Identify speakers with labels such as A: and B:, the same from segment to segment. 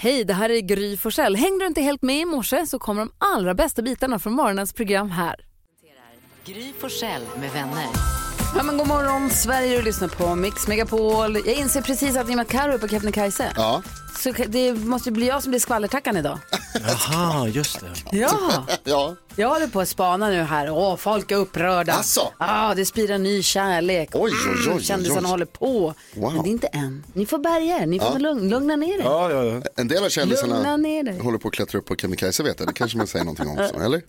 A: Hej, det här är Gry Forssell. Hängde du inte helt med i morse så kommer de allra bästa bitarna från morgonens program här.
B: Gry Forssell med vänner.
A: Ja, men god morgon, Sverige du lyssnar på Mix Megapol. Jag inser precis att i och med att Carro är på Kebnekaise
C: Ja.
A: så det måste ju bli jag som blir skvallertackan idag.
D: Jaha, just det.
A: Ja,
C: ja.
A: jag håller på att spana nu här. Åh, folk är upprörda.
C: Asså?
A: Ja, det spirar ny kärlek.
C: Oj, oj, oj, oj,
A: Kändisarna
C: oj.
A: håller på.
C: Wow.
A: Men det är inte än. Ni får bärga er, ni får lugn, lugna ner er.
D: Ja, ja, ja.
C: En del av
A: Lugna
C: kändisarna
A: ner dig.
C: håller på att klättra upp på Kebnekaise vet jag. Det kanske man säger någonting om också, eller?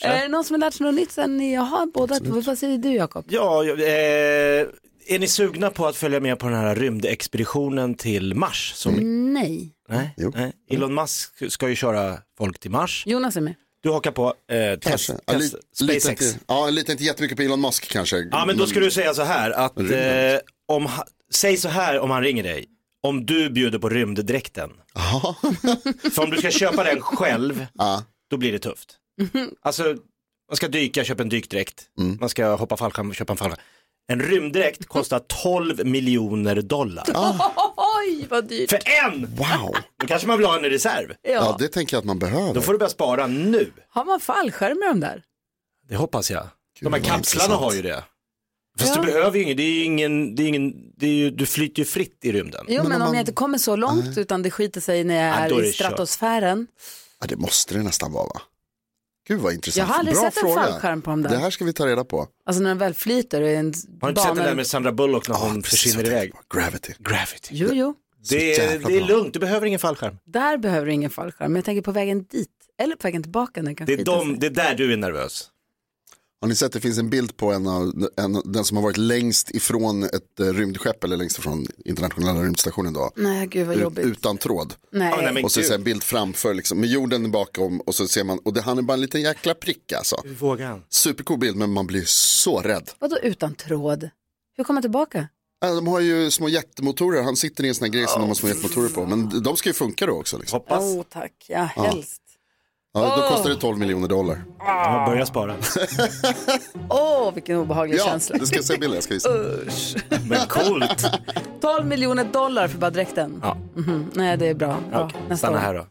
A: Är det Eh, någon som har lärt sig något nytt sen ni har båda? Vad säger du Jakob?
D: ja jag- eh, är ni sugna på att följa med på den här rymdexpeditionen till Mars? Som,
C: Mm.
A: Nej.
D: nej, nej. Elon Musk ska ju köra folk till Mars.
A: Jonas är med.
D: Du hakar på eh, test,
C: Kanske. Ja, li-
D: test,
C: lite
D: SpaceX.
C: inte- Ja, lite inte jättemycket på Elon Musk kanske.
D: Ja, men då ska du säga så här att
C: Rymden. liksom.
D: eh, om, ha- säg så här om han ringer dig. Om du bjuder på rymddräkten. För om du ska köpa den själv, då blir det tufft.
C: Mhm.
D: Alltså, man ska dyka, köpa en dykdräkt.
C: Mm.
D: Man ska hoppa fallskärm, köpa en fallskärm. En rymddräkt kostar 12 miljoner dollar.
A: Oj, vad dyrt.
D: För en!
C: Ah. Wow.
D: Då kanske man vill ha en i reserv.
C: Ja, det tänker jag att man
D: Då
C: behöver.
D: får du börja spara nu.
A: Har man fallskärmar de där?
D: Det hoppas jag. De här
C: vad
D: kapslarna
C: intressant.
D: har ju det. Fast
A: Ja.
D: du behöver ju ingen, det är ju ingen, det är ingen, det är ju, du flyter ju fritt i rymden.
A: Jo, men, om
C: man-
A: jag inte kommer så långt utan det skiter sig när jag
D: Ja,
A: är,
D: då är
A: i
D: det kört.
A: stratosfären.
C: Ja, det måste det nästan vara va? Gud vad intressant.
A: Jag har aldrig
C: Bra
A: sett en
C: fråga.
A: fallskärm på dem där.
C: Det här ska vi ta reda på.
A: Alltså när den väl flyter och är en
D: Har du inte sett det
A: bana-
D: där med Sandra Bullock när
C: Ja,
D: hon
C: precis
D: försvinner
C: vad jag
D: iväg?
C: tänkte på. Gravity.
D: Gravity.
A: Jo, jo.
C: Så
D: Det är,
C: jävla
D: det är
C: bra.
D: lugnt, du behöver ingen fallskärm.
A: Där behöver du ingen fallskärm. Men jag tänker på vägen dit. Eller på vägen tillbaka när den kan
D: Det är,
A: skita
D: de,
A: sig.
D: det är där du är nervös.
C: Har ni sett det finns en bild på en av en, den som har varit längst ifrån ett eh, rymdskepp eller längst ifrån internationella rymdstationen då.
A: Nej, gud vad
C: Ut-
A: jobbigt.
C: Utan tråd.
D: Ja,
A: Nej.
D: nej, men
C: Och så
D: gud.
C: ser en bild framför liksom, med jorden bakom och så ser man, och det, han är bara en liten jäkla prick alltså.
D: Hur vågar han?
C: Supercool bild men man blir så rädd.
A: Vadå utan tråd? Hur kommer man tillbaka?
C: Äh, De har ju små jättemotorer, han sitter i en sån här grej som de har små jättemotorer på. Men de ska ju funka då också. Liksom.
D: Hoppas.
A: Åh, oh, tack. Ja, helst.
C: Ja, då kostar det 12 miljoner dollar.
D: Ja, börja spara.
A: Åh, vilken obehaglig
C: Ja,
A: känsla.
C: det ska jag se bilden, jag ska visa.
D: Men coolt.
A: 12 miljoner dollar för bara dräkten.
D: Ja.
A: Mhm, Nej, det är bra. bra.
D: Okej,
A: Nästa
D: Stanna
A: år.
D: här då.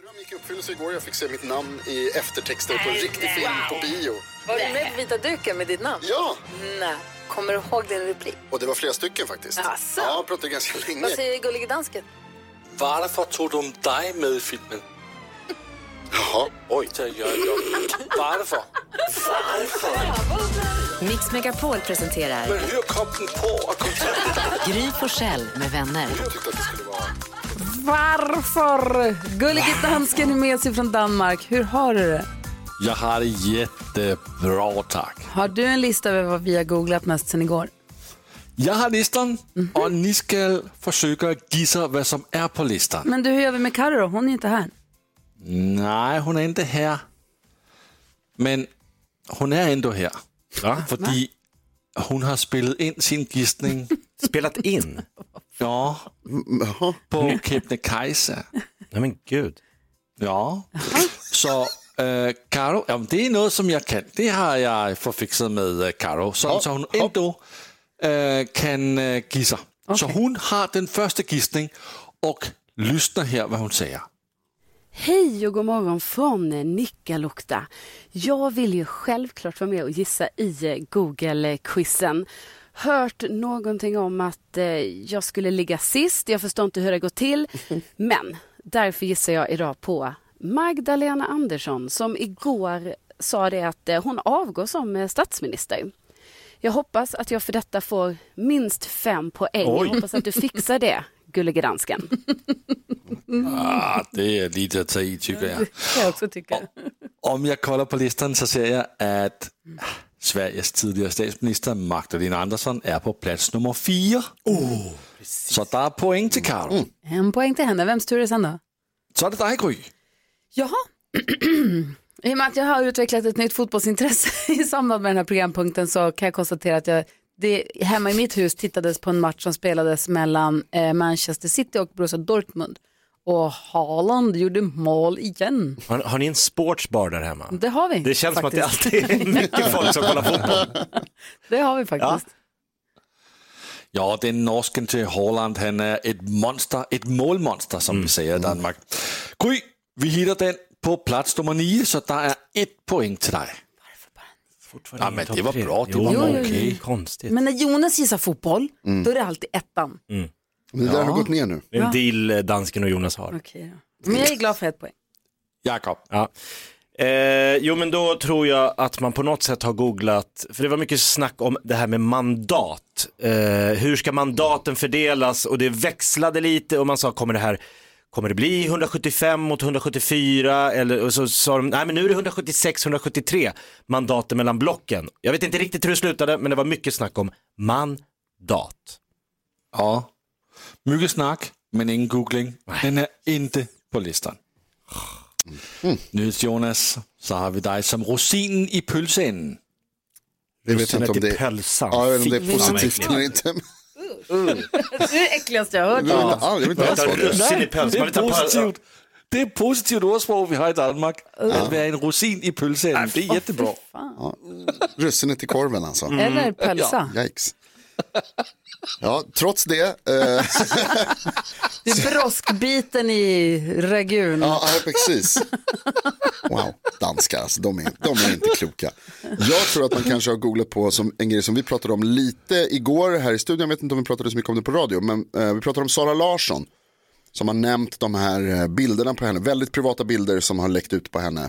C: Dröm gick i uppfyllelse igår, jag fick se mitt namn i eftertexter på en riktig film på bio.
A: Var du med på vita duken med ditt namn?
C: Ja,
A: Nej. Kommer du ihåg din replik?
C: och det var flera stycken faktiskt.
A: Asså?
C: Ja, jag pratade ganska länge.
A: Vad säger gullige dansken?
E: Varför tog de dig med i filmen?
C: Jaha.
E: Oj, det gör jag. Varför?
B: Mix Megapol presenterar
E: Men hur kom den på att kom
B: Gry Forssell med vänner.
C: Jag tyckte att det skulle vara...
A: Varför? Gullige dansken är med sig från Danmark. Hur har du det?
E: Jag har det jättebra, tack.
A: Har du en lista över vad vi har googlat mest sen igår?
E: Jag har listan och ni ska försöka gissa vad som är på listan.
A: Men du, hur gör vi med Carro då? Hon är inte här.
E: Nej, hon är inte här. Men hon är ändå här. För hon har spelat in sin gissning
D: Spelat in.
E: ja,
C: Jaha.
E: på Kebnekaise.
D: Nej men gud.
E: Ja. Så äh, Karo, ja, men det är något som jag kan. Det har jag förfixat med äh, Karo. Så, så hon ändå äh, kan äh, gissa. Så hon har den första gissningen och lyssnar här vad hon säger.
F: Hej och god morgon från Nikkaluokta. Jag vill ju självklart vara med och gissa i eh, Google-quizen. Hört någonting om att eh, jag skulle ligga sist, jag förstår inte hur det går till. Men därför gissar jag idag på Magdalena Andersson som igår sa det att eh, hon avgår som eh, statsminister. Jag hoppas att jag för detta får minst fem poäng.
D: Oj.
F: Jag hoppas att du fixar det, gullige dansken.
E: Ah, det är lite att ta i tycker jag.
A: Jag också tycker.
E: Om jag kollar på listan så ser jag att Sveriges tidigare statsminister Magdalena Andersson är på plats nummer fyra. så där är poäng till Karo.
A: En poäng till henne. Vems tur är det sen då?
E: Så är det dig Gry.
A: Jaha. I och med att jag har utvecklat ett nytt fotbollsintresse i samband med den här programpunkten så kan jag konstatera att jag det, hemma i mitt hus tittades på en match som spelades mellan eh, Manchester City och Borussia Dortmund. Och Haaland gjorde mål igen.
D: Har, har ni en sportsbar där hemma?
A: Det har vi.
D: Det känns
A: faktiskt.
D: som att det alltid är mycket folk som kollar fotboll.
A: Det har vi faktiskt.
E: Ja, den norsken till Holland, han är ett monster, ett målmonster som
A: Mm.
E: vi säger i Danmark. Gry, vi hittar den på plats nummer nio, så där är ett poäng till dig. Ja, men det var bra, det var
A: Jo, jo,
E: okej.
A: jo.
D: Konstigt. Mm.
A: Men när Jonas gissar fotboll,
C: Mm.
A: då är det alltid ettan.
C: Men det där har gått ner nu.
D: Det är en deal eh, dansken och Jonas har.
A: Okej då. Men jag är glad för ett poäng.
E: Jakob.
D: Ja. Eh, jo men då tror jag att man på något sätt har googlat, för det var mycket snack om det här med mandat. Eh, hur ska mandaten fördelas och det växlade lite och man sa kommer det här Kommer det bli 175 mot 174 eller och så sa de, nej men nu är det 176-173 mandaten mellan blocken. Jag vet inte riktigt hur det slutade men det var mycket snack om mandat.
E: Ja. Mycket snack, men ingen googling. Den är inte på listan. Nyhets Jonas, så har vi dig som rosinen i pölseänden.
C: Jag vet inte om det är,
D: Pölsan.
C: ja, jag vet inte om det är
D: Fy fan, vad
C: positivt eller inte. Men
A: Det är det äckligaste jag har hört.
C: Jag vill inte, ja, jag vill inte alls ha
D: Vänta,
C: det.
D: Russin i
E: Nej,
D: pölsen.
E: Det
D: Man
E: är
D: vill ta pöl-
E: positivt. Det är positivt ordsprog vi har i Danmark. Att vara en rosin i pölseänden, det är jättebra.
C: Russinet i korven alltså.
A: Mm. Eller pölsa.
C: Yikes. Ja, trots det. Eh,
A: Det är broskbiten i ragun.
C: ja, ja, precis. Wow, danskar alltså, de är, de är inte kloka. Jag tror att man kanske har googlat på som en grej som vi pratade om lite igår här i studion. Jag vet inte om vi pratade så mycket om det på radio, men eh, vi pratade om Sara Larsson. Som har nämnt de här eh, bilderna på henne, väldigt privata bilder som har läckt ut på henne.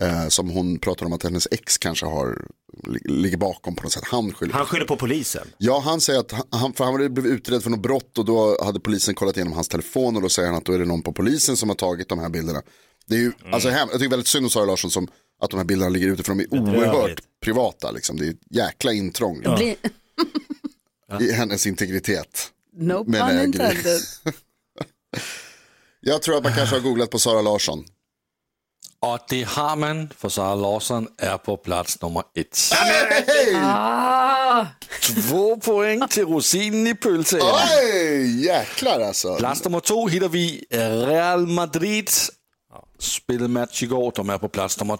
C: Eh, som hon pratar om att hennes ex kanske har, li- ligger bakom på något sätt. Han skyller på
D: Han skyller på polisen.
C: Ja, han säger att han, för han hade blivit utredd för något brott och då hade polisen kollat igenom hans telefon och då säger han att då är det någon på polisen som har tagit de här bilderna. Det är ju, alltså, hem, jag tycker väldigt synd om Sara Larsson som att de här bilderna ligger ute för de är oerhört
D: Bedrövligt.
C: privata. Liksom. Det är ett jäkla intrång
A: Bli-
C: i hennes integritet.
A: No
C: Men
A: pun
C: äger-
A: intended.
C: Jag tror att man kanske har googlat på Sara Larsson.
E: Och det har man, för Sara Larsson är på plats nummer ett.
A: Ah,
E: Två poäng till rosinen i pölseänden.
C: Oj, jäklar alltså.
E: Plats nummer två hittar vi Real Madrid. Spelade match igår, de är på plats nummer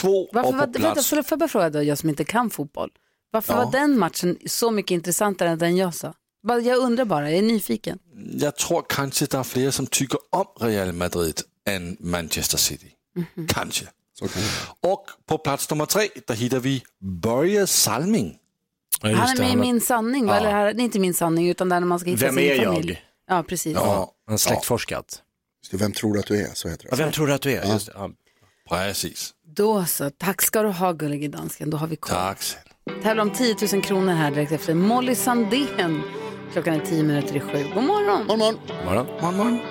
E: två.
A: varför
E: och på
A: var, vänta,
E: plats...
A: förlåt, får jag bara fråga då, jag som inte kan fotboll. Varför
E: Ja.
A: var den matchen så mycket intressantare än den jag sa? Bara- Jag undrar bara, jag är nyfiken.
E: Jag tror kanske det är fler som tycker om Real Madrid än Manchester City.
A: Mhm.
E: Kanske.
C: Så kan det vara.
E: Och på plats nummer tre, där hittar vi Börje Salming.
A: han är med i Min sanning, va? eller här, det är inte Min sanning utan där när man ska hitta
D: Vem
A: sin
D: är jag?
A: familj. Ja, precis.
E: Ja,
D: Han har släktforskat.
C: Just det, Vem tror du att du är? Så heter
D: Ja,
C: det.
D: vem tror du att du är? Just det. Ja.
E: precis.
A: Då så, tack ska du ha gullige dansken, då har vi koll.
E: Tack.
A: Tävla om 10 000 kronor här direkt efter Molly Sandén. Klockan är 10 minuter i sju. God morgon!
C: Morgon, morgon.
D: Morgon.
E: Morgon, morgon.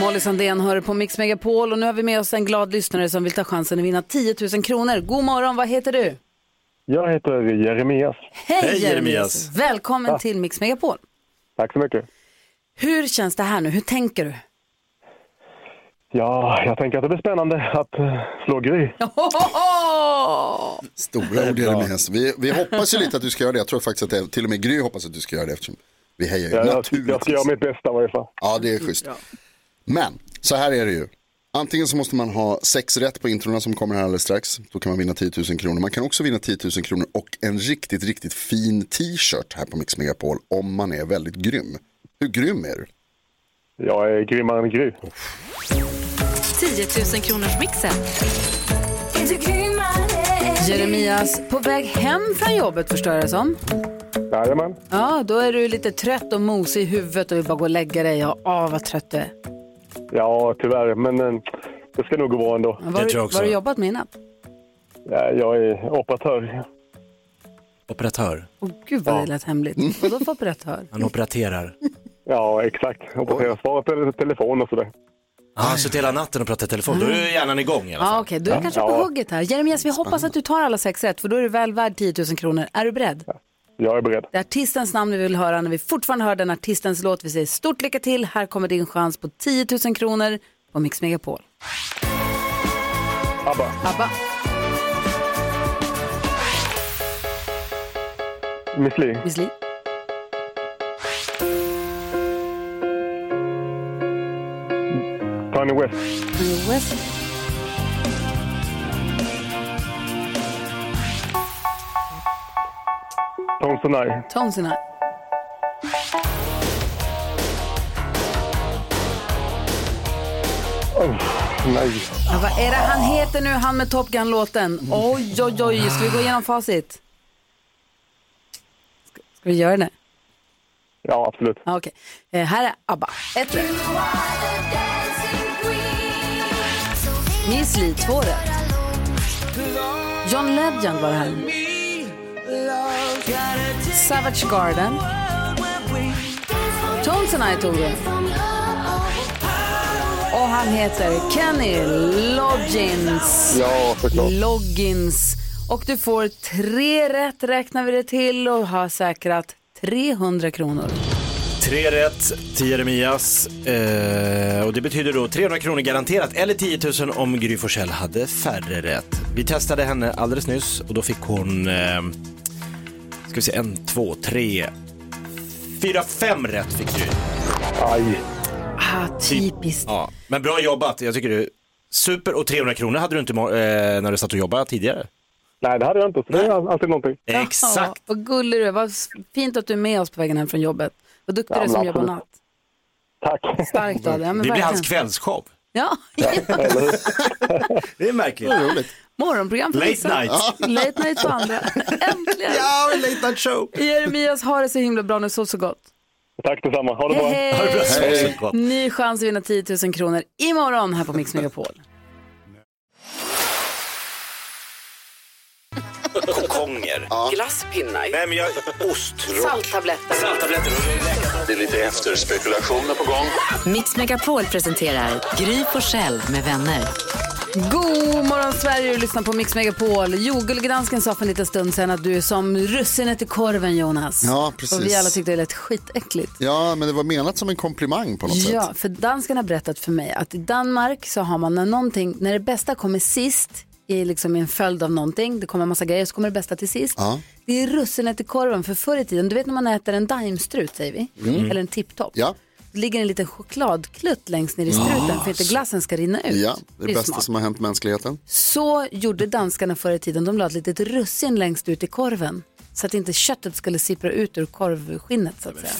A: Molly Sandén hör på Mix Megapol och nu har vi med oss en glad lyssnare som vill ta chansen att vinna 10 000 kronor. God morgon, vad heter du?
G: Jag heter Jeremias.
A: Hej,
D: Hej, Jeremias.
A: Välkommen till Mix Megapol!
G: Tack så mycket.
A: Hur känns det här nu? Hur tänker du?
G: Ja, jag tänker att det blir spännande att eh, slå Gry.
A: Ohoho!
C: Stora ord Jeremias. Vi, vi hoppas ju lite att du ska göra det. Jag tror faktiskt att det, till och med Gry hoppas att du ska göra det eftersom vi hejar ju
G: Jag, jag, jag ska
C: naturligtvis.
G: göra mitt bästa i varje fall.
C: Ja, det är schysst. Men så här är det ju. Antingen så måste man ha sex rätt på introna som kommer här alldeles strax. Då kan man vinna 10 000 kronor. Man kan också vinna 10 000 kronor och en riktigt, riktigt fin t-shirt här på Mix Megapol om man är väldigt grym. Hur grym är du?
G: Jag är grymmare än Gry.
B: 10 000 kronors mixen.
A: Jeremias, på väg hem från jobbet förstår jag det som.
G: Jajamän.
A: Ja, då är du lite trött och mosig i huvudet och vill bara gå och lägga dig. Ja, ah, vad trött du är.
G: Ja, tyvärr. Men eh, det ska nog gå bra ändå.
A: Vad har
D: Det
A: du-
D: tror jag också.
A: Vad har du jobbat med innan?
G: Ja, jag är operatör.
D: Operatör.
A: Åh gud vad det lät
D: Mm.
A: hemligt. Vadå för operatör?
D: Han operaterar.
G: Ja, exakt. Opererar, svarar på telefon och sådär.
D: Han har suttit hela natten och pratat i telefon. Då är hjärnan igång i alla
A: Mm. Ja
D: fall.
A: okej, du är kanske på
G: Ja.
A: hugget här. Jeremias, vi hoppas att du tar alla sex rätt för då är du väl värd 10 000 kronor. Är du beredd?
G: Jag är beredd.
A: Det är artistens namn vi vill höra när vi fortfarande hör den artistens låt. Vi säger stort lycka till, här kommer din chans på 10 000 kronor på Mix Megapol.
G: ABBA.
A: ABBA.
G: Miss Li.
A: Miss Li.
G: Kanye West.
A: Kanye West.
G: Tom Sonai.
A: Tones and I.
G: Oh, nej.
A: Ja, vad är det han heter nu, han med Top Gun-låten? Oj, oj, oj. Ska vi gå igenom facit? Ska, ska vi göra det?
G: Ja, absolut.
A: Ja, okej. Eh, här är ABBA. Ett rätt. Miss Li, två rätt. John Legend var det här. Savage Garden. Tones and I tog det. Och han heter Kenny Loggins.
C: Ja, såklart.
A: Loggins. Och du får tre rätt räknar vi det till och har säkrat 300 kronor.
D: Tre rätt, 10 remias. Eh, och det betyder då 300 kronor garanterat, eller 10 000 om Gry Forssell hade färre rätt. Vi testade henne alldeles nyss och då fick hon, eh, ska vi se, en, två, tre, fyra, fem rätt fick Gry. Typ,
G: Aj.
A: Ah, typiskt.
D: Ja. Men bra jobbat, jag tycker du, super. Och 300 kronor hade du inte ma- eh, när du satt och jobbade tidigare.
G: Nej, det hade jag inte. Så det är alltid någonting.
D: Exakt.
A: Ja, vad gullig du är. Vad fint att du är med oss på vägen hem från jobbet. Vad duktig du är
G: men
A: som jobbar
G: absolut.
A: natt.
G: Tack.
A: Starkt av dig. Ja, men
D: Det blir
A: verkligen.
D: hans kvällsshow.
A: Ja,
G: Eller hur?
D: Det är märkligt.
C: Roligt.
A: morgonprogram för
D: Late
A: vissa.
D: night.
A: Late night för andra. Äntligen.
D: Ja, late night show.
A: Jeremias, har det så himla bra nu. Så så gott.
G: Tack detsamma. Ha det bra.
D: Ha det bra,
A: Hej,
D: så, så gott.
A: Ny chans att vinna 10 000 kronor imorgon här på Mix Megapol.
D: Kokonger.
F: Glasspinnar.
D: Nej men jag, ost.
A: Salttabletter.
D: Salttabletter.
H: Det är lite efterspekulationer på gång.
B: Mix Megapol presenterar Gry Forssell med vänner.
A: God morgon Sverige, du lyssnar på Mix Megapol. Jo, Gullegransken sa för en liten stund sedan att du är som russinet i korven Jonas.
C: Ja, precis.
A: Och vi alla tyckte det lät skitäckligt.
C: Ja, men det var menat som en komplimang på något
A: Ja,
C: sätt.
A: för danskarna har berättat för mig att i Danmark så har man när någonting, när det bästa kommer sist i liksom i en följd av någonting, det kommer en massa grejer så kommer det bästa till sist.
C: Ja.
A: Det är russinet i korven för förr i tiden, du vet när man äter en daimstrut säger vi, eller en tipptopp.
C: Mm. Ja.
A: Då ligger en liten chokladklutt längst ner i struten för att inte glassen ska rinna ut.
C: Ja, det är det
A: ju
C: bästa
A: smart.
C: som har hänt mänskligheten.
A: Så gjorde danskarna förr i tiden. De la ett litet russin längst ut i korven så att inte köttet skulle sippra ut ur korvskinnet. Så, att säga.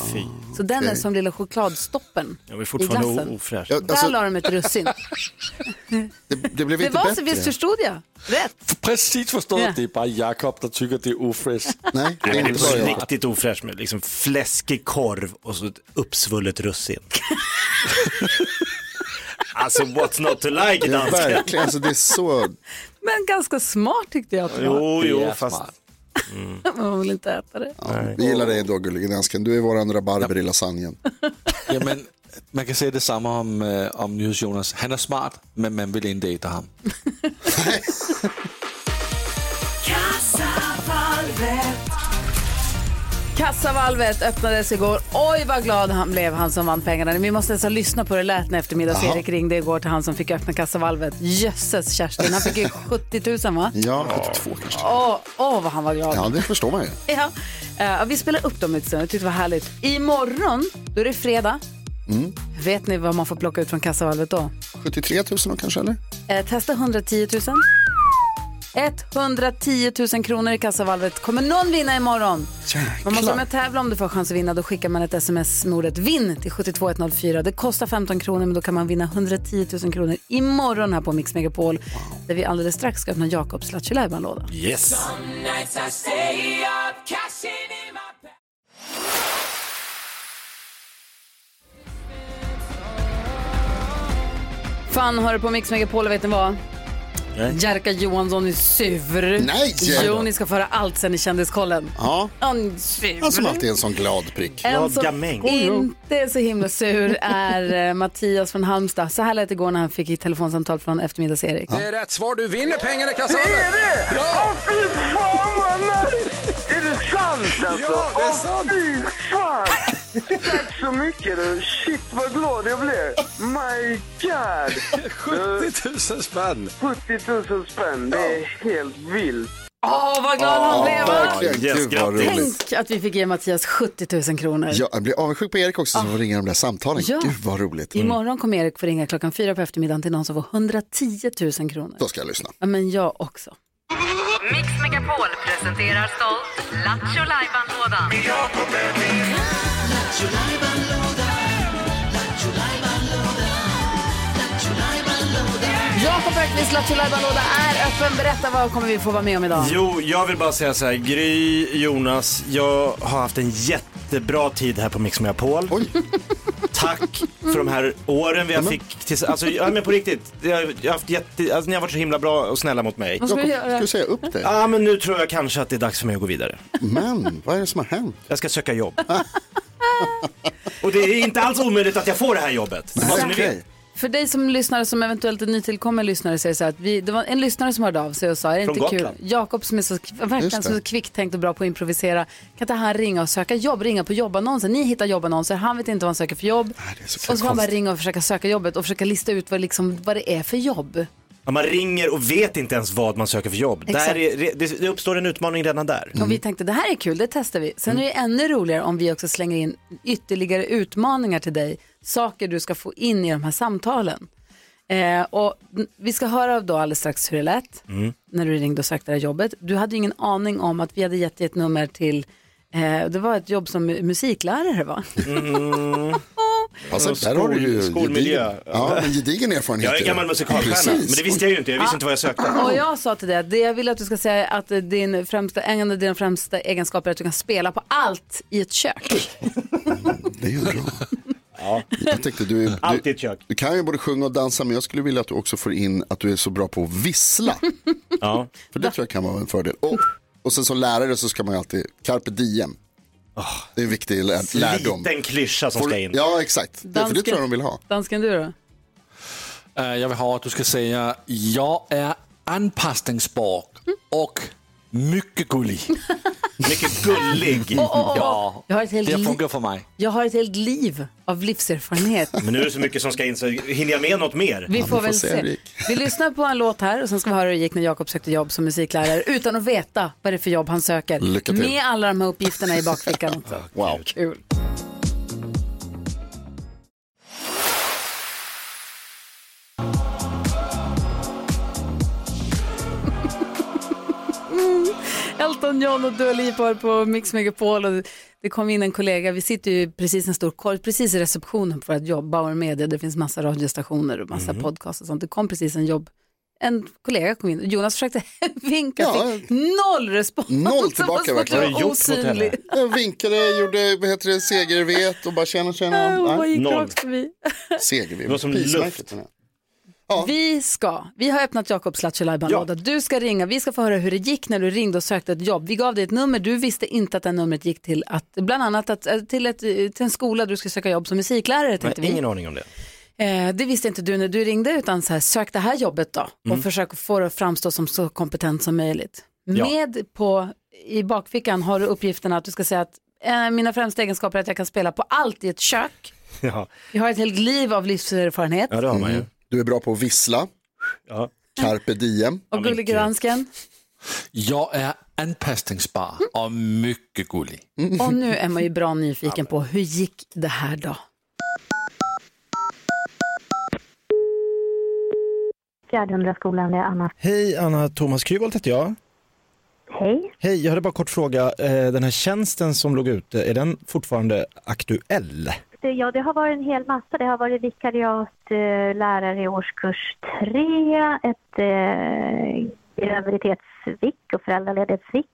A: så den är som lilla chokladstoppen
D: Jag är
A: i
D: fortfarande
A: glassen.
D: o- ofräsch.
C: Ja,
A: Där
C: alltså,
A: la de ett russin.
C: det, det blev
A: Det
C: inte
A: var så,
C: bättre.
A: visst förstod jag? Rätt.
E: Præcis forstået.
A: Ja.
E: Det er bare Jakob, der tykker, det er ufresh.
C: Nej, det
D: Nej,
C: är
D: men
C: inte
D: det var
C: bara
D: ju
C: jag.
D: riktigt ofräscht med liksom fläskig korv och så ett uppsvullet russin. alltså what's not to like
C: Ja,
D: danska.
C: verkligen, alltså, det är så...
A: Men ganska smart tyckte jag att det var.
D: Jo,
E: Det
D: jo,
E: är
D: fast
E: smart.
A: Man vill inte äta det.
C: Ja, vi gillar dig ändå, gullige dansken. Du är våran rabarber i lasagnen.
E: Jamen, man kan sige det samme om, øh, om Nyheds Jonas. Han er smart, men man vil ikke date ham.
A: Kassavalvet öppnades igår. Oj, vad glad han blev, han som vann pengarna. Vi måste nästan lyssna på hur det lät när eftermiddags-Erik ringde igår till han som fick öppna kassavalvet. Jösses, Kerstin. Han fick ju 70 000, va?
C: Ja, 72 kanske.
A: Åh, åh vad han var glad.
C: Ja, det förstår man ju.
A: Ja. Eh, vi spelar upp dem lite sen. Jag tyckte det var härligt. Imorgon, då är det fredag. Vet ni vad man får plocka ut från kassavalvet då?
C: 73 000 då kanske, eller?
A: Eh, testa 110 000. 110 000 kronor i kassavalvet. Kommer någon vinna imorgon? Man måste vara med och tävla om du får chans att vinna. Då skickar man ett sms med ordet vinn till 72104. Det kostar 15 kronor men då kan man vinna 110 000 kronor imorgon här på Mix Megapol. Där vi alldeles strax ska öppna Jakobs Lattjo låda
D: yes.
A: Fan hör du på Mix Megapol och vet ni vad?
D: Nej.
A: Jerka Johansson är sur.
C: Nej!
A: Jo, ni ska föra allt sen i Kändiskollen.
C: Ja,
A: Han är sur.
C: han som alltid är en sån glad prick.
A: En
D: Vad
A: som
D: gamäng.
A: inte är så himla sur är eh, Mattias från Halmstad. Så här lät det igår när han fick ett telefonsamtal från eftermiddags-Erik.
I: Det är rätt svar. Du vinner pengarna i kassan.
J: Är det? Åh fy fan vad nice! Är det sant?
I: sant alltså!
J: Ja, det är sant.
I: Åh, fy fan! Tack så mycket du! Shit vad glad jag blev! My God!
J: 70 000 spänn!
I: 70 000 spänn, det är helt vilt.
A: Åh, vad glad han blev! va?
C: Verkligen,
D: Yes,
C: gud vad
D: grattis.
C: roligt.
A: Tänk att vi fick ge Mattias 70 000 kronor.
C: Ja, jag blir avundsjuk på Erik också som får ringa de där samtalen.
A: Ah. Ja.
C: Gud vad roligt.
A: Imorgon kommer Erik få ringa klockan fyra på eftermiddagen till någon som får 110 000 kronor.
C: Då ska jag lyssna.
A: Ja, men jag också.
B: Mix Megapol presenterar stolt Lattjo Lajban-lådan.
A: Jakob Bergqvist Lattjo Lajban-låda är öppen. Berätta vad kommer vi få vara med om idag?
D: Jo, jag vill bara säga så här, Gry, Jonas, jag har haft en jättebra tid här på Mix Megapol.
C: Oj. Mm.
D: Tack för de här åren vi har fick tills, alltså, ja, men på riktigt, jag, har- jag har haft jätte, alltså, ni har varit så himla bra och snälla mot mig.
A: Vad ska
C: Mm. Jakob,
A: vi
C: ska
A: göra?
C: du säga upp dig?
D: Ja, men nu tror jag kanske att det är dags för mig att gå vidare.
C: Men, vad är det som har hänt?
D: Jag ska söka jobb. och det är inte alls omöjligt att jag får det här jobbet. Bara så ni vet.
C: Okej.
A: För dig som lyssnare, som eventuellt är nytillkommen lyssnare, säger så här att vi, det var en lyssnare som hörde av sig och sa, är det
D: Från
A: inte kul?
D: Gotland.
A: Jakob som är så, verkligen
C: Just det.
A: som är så kvicktänkt och bra på att improvisera, kan inte han ringa och söka jobb, ringa på jobbannonser? Ni hittar jobbannonser, han vet inte vad han söker för jobb.
C: det är så
A: och så får han bara
C: konstigt.
A: ringa och försöka söka jobbet och försöka lista ut vad, liksom, vad det är för jobb.
D: Ja, man ringer och vet inte ens vad man söker för jobb.
A: Exakt.
D: Där är, det, det uppstår en utmaning redan där.
C: Mm.
A: Och vi tänkte det här är kul, det testar vi. Sen är det ännu roligare om vi också slänger in ytterligare utmaningar till dig. Saker du ska få in i de här samtalen. Eh, och n- vi ska höra då alldeles strax hur det lät
K: Mm.
A: när du ringde och sökte det här jobbet. Du hade ju ingen aning om att vi hade gett dig ett nummer till, eh, det var ett jobb som musiklärare va?
I: Mm.
C: Alltså,
A: Mm.
D: Och
C: där har du ju
D: skol- skolmiljö.
C: gedigen, ja, men gedigen erfarenhet.
D: Jag är
C: ju.
D: gammal musikalstjärna, men
C: Precis.
D: det visste jag ju inte. Jag visste inte vad jag sökte.
A: Och jag sa till dig att det jag vill att du ska säga är att eh, din främsta, en av dina främsta egenskaper är att du kan spela på allt i ett kök.
C: Det är ju bra. Jag tänkte, du, du,
D: Alltid ett kök.
C: du kan ju både sjunga och dansa, men jag skulle vilja att du också får in att du är så bra på att vissla.
D: Ja.
C: För det tror jag kan vara en fördel. Och, och sen som lärare så ska man ju alltid, carpe diem. Det är en viktig lär, lärdom.
D: Liten klyscha Ah. som
C: Får-
D: ska in.
C: Ja, exakt. Det, för det
A: Dansken.
C: tror jag de vill ha.
A: Dansken du då?
E: Eh, jag vill ha att du ska säga jag är anpassningsbar
A: Hm?
E: och mycket gullig.
D: Mycket gullig.
E: Ja,
A: Jag har ett helt
E: det
A: li-
E: funkar för mig.
A: Jag har ett helt liv av livserfarenhet.
D: Men nu är det så mycket som ska in så hinner jag med något mer?
A: Vi får
C: får
A: väl
C: se
A: se.
C: hur det gick.
A: Vi lyssnar på en låt här och sen ska vi höra hur det gick när Jakob sökte jobb som musiklärare utan att veta vad det är för jobb han söker.
C: Lycka till.
A: Med alla de här uppgifterna i bakfickan också.
C: Wow.
A: Kul. Mm. Elton John och Dua Lipa var på Mix Megapol och det kom in en kollega, vi sitter ju precis en stor korg, precis i receptionen för att jobba och media, det finns massa radiostationer och
C: Mm.
A: massa podcast och sånt. Det kom precis en jobb, en kollega kom in, Jonas försökte vinka,
C: Ja.
A: fick noll respons.
C: Noll tillbaka
A: Det var som att
C: verkligen.
A: det
D: Vad har
A: var
D: du gjort mot henne?
A: osynlig.
C: Jag vinkade, gjorde vad heter det, segervet och bara tjena tjena.
A: Hon bara
C: Nej,
A: Äh, gick
D: Noll.
A: rakt förbi.
C: segervet.
D: Det var som
C: Prismärket,
D: luft.
C: den här.
A: Vi ska, vi har öppnat Jakobs Lattjo-lajban-låda. Du ska ringa, vi ska få höra hur det gick när du ringde och sökte ett jobb. Vi gav dig ett nummer, du visste inte att det numret gick till att, bland annat att, eh, till, ett, till en skola där du ska söka jobb som musiklärare
D: Nej,
A: tänkte vi.
D: ingen aning om det.
A: Eh, det visste inte du när du ringde utan så här, sök det här jobbet då
D: Mm.
A: och försök att få det att framstå som så kompetent som möjligt.
D: Ja.
A: Med på, i bakfickan har du uppgiften att du ska säga att eh, mina främsta egenskaper är att jag kan spela på allt i ett kök.
D: Ja,
A: Jag har ett helt liv av livserfarenhet.
D: ja det har man ju.
C: Mm. Du är bra på att vissla,
D: Ja.
C: carpe diem.
A: Och gullig dansken.
E: Jag är anpassningsbar
A: Hm?
E: och mycket gullig.
A: Och nu är man ju bra nyfiken på hur gick det här då?
L: Fjärdehundraskolan, det är Anna.
M: Hej, Anna Thomas Kryvold heter jag.
L: Hej.
M: Hej, jag hade bara en kort fråga. Eh, Den här tjänsten som låg ute, är den fortfarande aktuell?
L: Du, ja, det har varit en hel massa. Det har varit vikariat, eh, lärare i årskurs tre, ett eh, graviditetsvick och föräldraledighetsvick.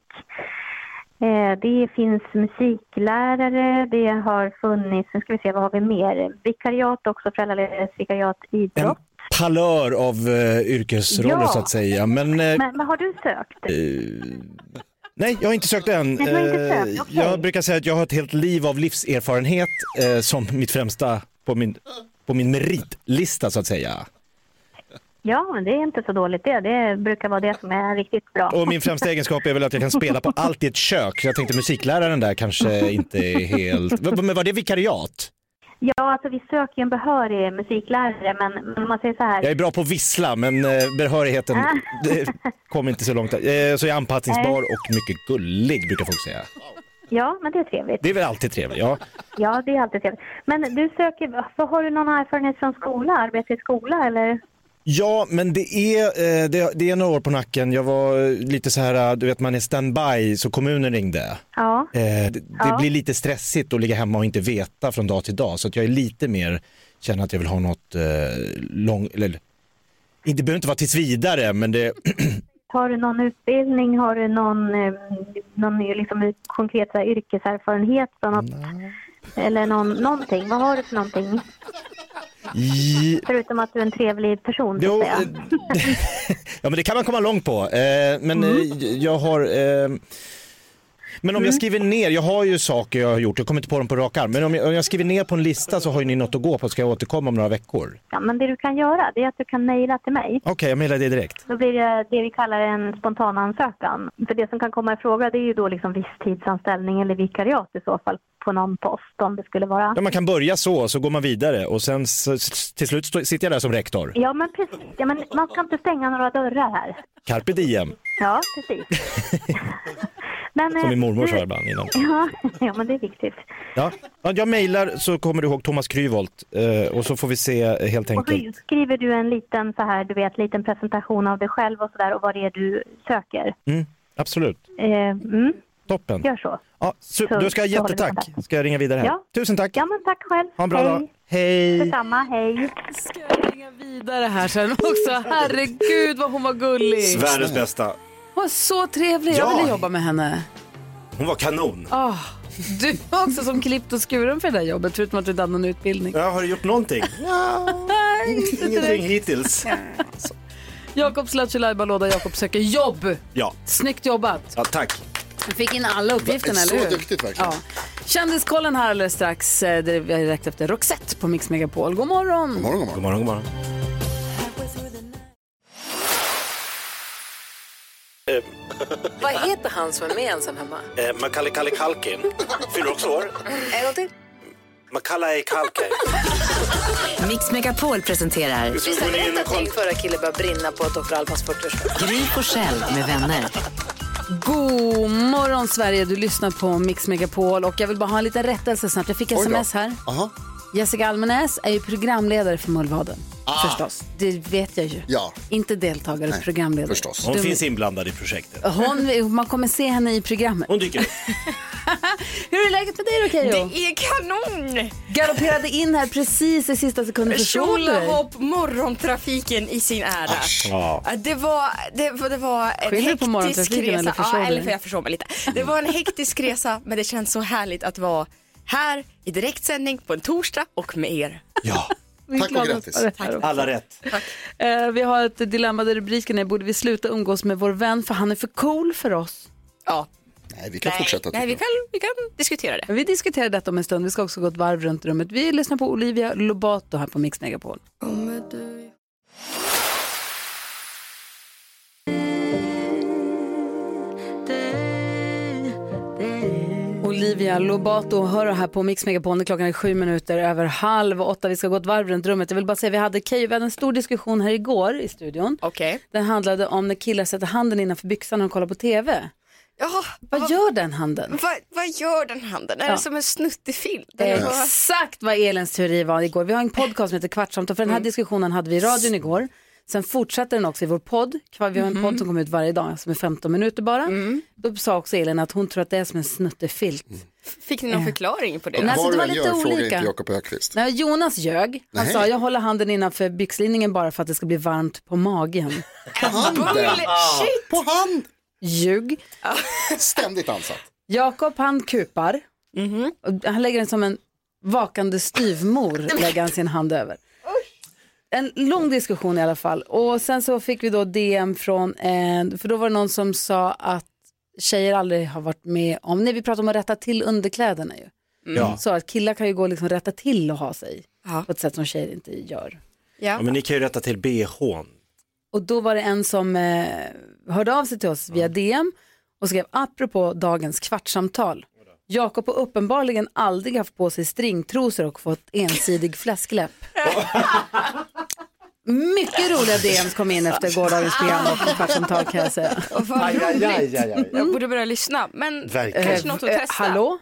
L: Eh, det finns musiklärare, det har funnits, nu ska vi se, vad har vi mer? Vikariat också, föräldraledighetsvikariat,
M: En
L: idrott.
M: palör av eh, yrkesroller
L: Ja.
M: så att säga. Men, eh,
L: Men, men har du sökt?
M: nej, jag har inte sökt än.
L: Nej, du har inte
M: Eh,
L: sökt, okej.
M: Jag brukar säga att jag har ett helt liv av livserfarenhet eh, som mitt främsta på min, på min meritlista så att säga.
L: Ja, men det är inte så dåligt det. Det brukar vara det som är riktigt bra.
D: Och min främsta egenskap är väl att jag kan spela på allt i ett kök. Så jag tänkte musikläraren där kanske inte är helt... V- Men var det vikariat?
L: Ja, alltså vi söker ju en behörig musiklärare, men men om man säger så här.
D: Jag är bra på att vissla men eh, behörigheten det kom inte så långt. där. Eh, Så jag är anpassningsbar och mycket gullig brukar folk säga.
L: Ja, men det är trevligt.
D: Det är väl alltid trevligt, ja.
L: Ja, det är alltid trevligt. Men du söker, för har du någon erfarenhet från skola, arbete i skola eller?
D: Ja, men det är, eh, det, det är några år på nacken. Jag var eh, lite så här, eh, du vet man är standby så kommunen ringde.
L: Ja.
D: Eh, det det
L: Ja.
D: blir lite stressigt att ligga hemma och inte veta från dag till dag så att jag är lite mer, känner att jag vill ha något eh, lång, eller inte behöver inte vara tills vidare men det,
L: Har du någon utbildning, har du någon, eh, någon liksom konkret så här, yrkeserfarenhet från något? Eller någon, någonting, vad har du för någonting?
D: i,
L: Förutom att du är en trevlig person så att
D: Jo, eh,
L: säga.
D: ja men det kan man komma långt på. Eh, men
L: Mm.
D: eh, jag har, eh, men om jag skriver ner, jag har ju saker jag har gjort, jag kommer inte på dem på rak arm, men om jag, om jag skriver ner på en lista så har ju ni något att gå på, ska jag återkomma om några veckor?
L: Ja, men det du kan göra det är att du kan mejla till mig.
D: Okej, jag mejlar det direkt.
L: Då blir det det vi kallar en spontan ansökan. För det som kan komma i fråga det är ju då liksom visstidsanställning eller vikariat i så fall på någon post om det skulle vara.
D: Ja, man kan börja så, så går man vidare och sen så, s- till slut stå- sitter jag där som rektor.
L: Ja, men precis. Ja, men man ska inte stänga några dörrar här.
D: Carpe diem,
L: Ja, precis. men,
D: som
L: eh,
D: min mormor
L: du-
D: sa ibland innan.
L: Ja, ja, men det är viktigt.
D: Ja, Ja, jag mejlar så kommer du ihåg Thomas Kryvolt eh, och så får vi se eh, helt
L: Och
D: enkelt.
L: så skriver du en liten så här, du vet, liten presentation av dig själv och sådär och vad det är du söker.
D: Mm, absolut,
L: Eh, mm,
D: toppen.
L: gör så.
D: Ja, super.
L: Så-
D: Du ska ha
L: så håller vi
D: jättetack.
L: kontakt.
D: Ska jag ringa vidare här?
L: Ja.
D: Tusen tack.
L: Ja, men tack själv.
D: Ha en bra
L: Hej.
D: dag. Hej.
L: Detsamma, hej.
A: Ska jag ringa vidare här sen också? Herregud vad hon var gullig.
N: Världens bästa.
A: Hon var så trevlig. Jag
N: Ja.
A: ville jobba med henne.
N: Hon var kanon.
A: Ah, du var också som klippt och skuren för det där jobbet, förutom att du inte hade någon utbildning.
N: Ja, har du gjort någonting?
A: Nej, inte
N: Ingenting
A: direkt.
N: hittills.
A: Jakobs Lattjo Lajban-låda, Jakob söker jobb.
N: Ja,
A: Snyggt jobbat.
N: ja tack.
A: Du fick in alla uppgifterna,
C: Så
A: eller hur?
C: duktigt verkligen.
A: Ja. Kändiskollen här alldeles strax, eh, det är direkt efter Roxette på Mix Megapol. God morgon!
C: God morgon, god morgon.
N: God morgon, god morgon.
A: Vad heter han som är med ensam hemma?
N: Eh, Macaulay Kalle Kalkin fyller också år.
A: En gång till.
N: Macaulay Kalkin.
B: Mix Megapol presenterar
A: Visst har jag berättat att min förra kille började brinna på Dr. Albans 40-årsfest?
B: Gry Forssell med vänner.
A: God morgon Sverige, du lyssnar på Mix Megapol och jag vill bara ha en liten rättelse snabbt. Jag fick
C: Oj då.
A: sms här.
C: Aha.
A: Jessica Almenäs är ju programledare för Mullvaden.
C: Ah.
A: Förstås, det vet jag ju.
C: Ja,
A: Inte deltagare, programledare.
C: förstås.
N: Hon
A: Du-
N: finns inblandad i projektet.
A: Hon, man kommer se henne i programmet.
N: Hon dyker upp.
A: Hur är läget med dig då Keyyo?
K: Det är kanon!
A: Galopperade in här precis i sista sekunden. Försov du dig?
K: Tjolahopp, morgontrafiken i sin ära.
A: Ja.
K: Ja, Det var, det, var- det var
A: Skyller
K: en
A: du på
K: hektisk
A: morgontrafiken eller försov
K: resa. ja,
A: du
K: eller
A: dig?
K: för jag försov mig lite. Det var en hektisk resa men det känns så härligt att vara här i direktsändning på en torsdag och med er.
C: Ja.
A: Vi är Tack och glada grattis. för det här också.
N: Alla rätt.
A: Eh, vi har ett dilemma där rubriken är Borde vi sluta umgås med vår vän för han är för cool för oss?
K: Ja.
C: Nej, vi kan
K: nej,
C: fortsätta.
K: Nej,
C: tycker
K: vi
C: jag.
K: kan, vi kan diskutera det.
A: Vi diskuterar detta om en stund. Vi ska också gå ett varv runt rummet. Vi lyssnar på Olivia Lobato här på Mix Megapol. Olivia Lobato hör här på Mix Megapol. Nu Klockan är sju minuter över halv åtta. Vi ska gå ett varv runt rummet. Jag vill bara säga, vi hade, Keyyo, vi hade en stor diskussion här igår i studion.
K: Okay.
A: Den handlade om när killar sätter handen innanför byxan när de kollar på TV.
K: Ja,
A: Vad gör den handen?
K: Vad, vad gör den handen? Är
A: Ja.
K: det som en snuttefilt? Eller vad-
A: Eh, Exakt vad Elins teori var igår. Vi har en podcast som heter Kvartsamtal. För den här
C: Mm.
A: diskussionen hade vi i radion igår. Sen fortsatte den också i vår podd. Kvar- Vi har en
C: Mhm.
A: podd som kommer ut varje dag som är 15 minuter bara.
C: Mm.
A: Då sa också Elin att hon tror att det är som en snuttefilt.
K: Fick ni någon förklaring på det?
A: Nej, alltså,
C: Vad
A: det
C: du
A: var
C: än
A: lite
C: Mm. gör, fråga
A: olika.
C: inte Jakob Högqvist.
A: Nej, Jonas ljög. Han
C: Nej.
A: sa jag håller handen innanför byxlinningen bara för att det ska bli varmt på magen.
K: Bullshit!
C: På hand!
A: Ljug.
C: Ständigt ansatt.
A: Jakob han kupar. Och Han lägger den som en vakande styvmor, lägger han sin hand över. En lång diskussion i alla fall. Och sen så fick vi då DM från en, för då var det någon som sa att tjejer aldrig har varit med om, nej vi pratar om att rätta till underkläderna ju.
N: Mm. Ja.
A: Så att killar kan ju gå och liksom rätta till och ha sig på ett sätt som tjejer inte gör.
N: Ja, men ni kan ju rätta till bhn.
A: Och då var det en som eh, hörde av sig till oss via DM och skrev apropå dagens kvartssamtal. Jakob har uppenbarligen aldrig haft på sig stringtrosor och fått ensidig fläskläpp. Mycket roliga DMs kom in efter gårdagens program och kvartssamtal kan jag säga.
K: Vad
D: Aj, aj, aj,
K: roligt. Mm.
D: aj, aj.
K: Jag borde börja lyssna. Men
D: Verkligen.
K: kanske något att
A: Eh, eh,
K: testa.
A: hallå?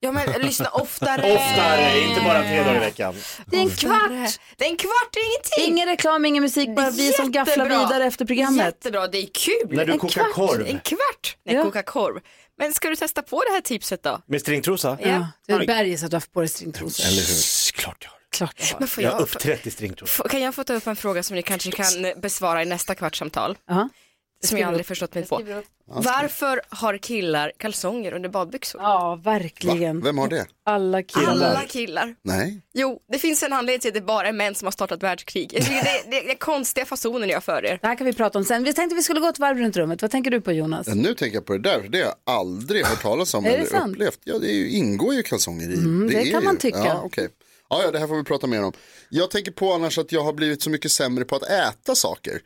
K: Ja men eh, lyssna oftare.
D: Oftare, inte bara tre dagar i veckan.
A: Det är en kvart!
K: Det är en kvart, det är ingenting.
A: Ingen reklam, ingen musik, bara vi som gafflar
K: Jättebra.
A: vidare efter programmet.
K: Jättebra, det är kul.
D: När du
K: En
D: kokar
K: kvart.
D: korv.
K: En kvart. Nej, kokar korv. Men ska du testa på det här tipset då?
D: Med stringtrosa?
K: Ja.
A: Det är bergis att du har haft på dig stringtrosor.
D: Eller hur? Klart jag har.
A: Klart.
K: Men får
D: Jag har
K: jag,
D: uppträtt i stringtrosa.
K: F- Kan jag få ta upp en fråga som ni kanske kan eh, besvara i nästa kvartssamtal? Som jag aldrig förstått mig på. Varför har killar kalsonger under badbyxor?
A: Ja, verkligen.
C: Vem har det?
A: Alla
K: Alla killar.
C: Nej.
K: Jo, det finns en anledning till att det bara är män som har startat världskrig. Jag tycker Det, det, det är konstiga fasoner ni har för er.
A: Det här kan vi prata om sen. Vi tänkte vi skulle gå ett varv runt rummet. Vad tänker du på Jonas?
C: Ja, Nu tänker jag på det där, för det har jag aldrig hört talas om
A: Är det
C: eller
A: sant?
C: upplevt. Ja, det är ju, ingår ju kalsonger i.
A: Mm, det
C: är
A: kan man
C: ju-
A: tycka.
C: Ja, okej. ja, ja, det här får vi prata mer om. Jag tänker på annars att jag har blivit så mycket sämre på att äta saker.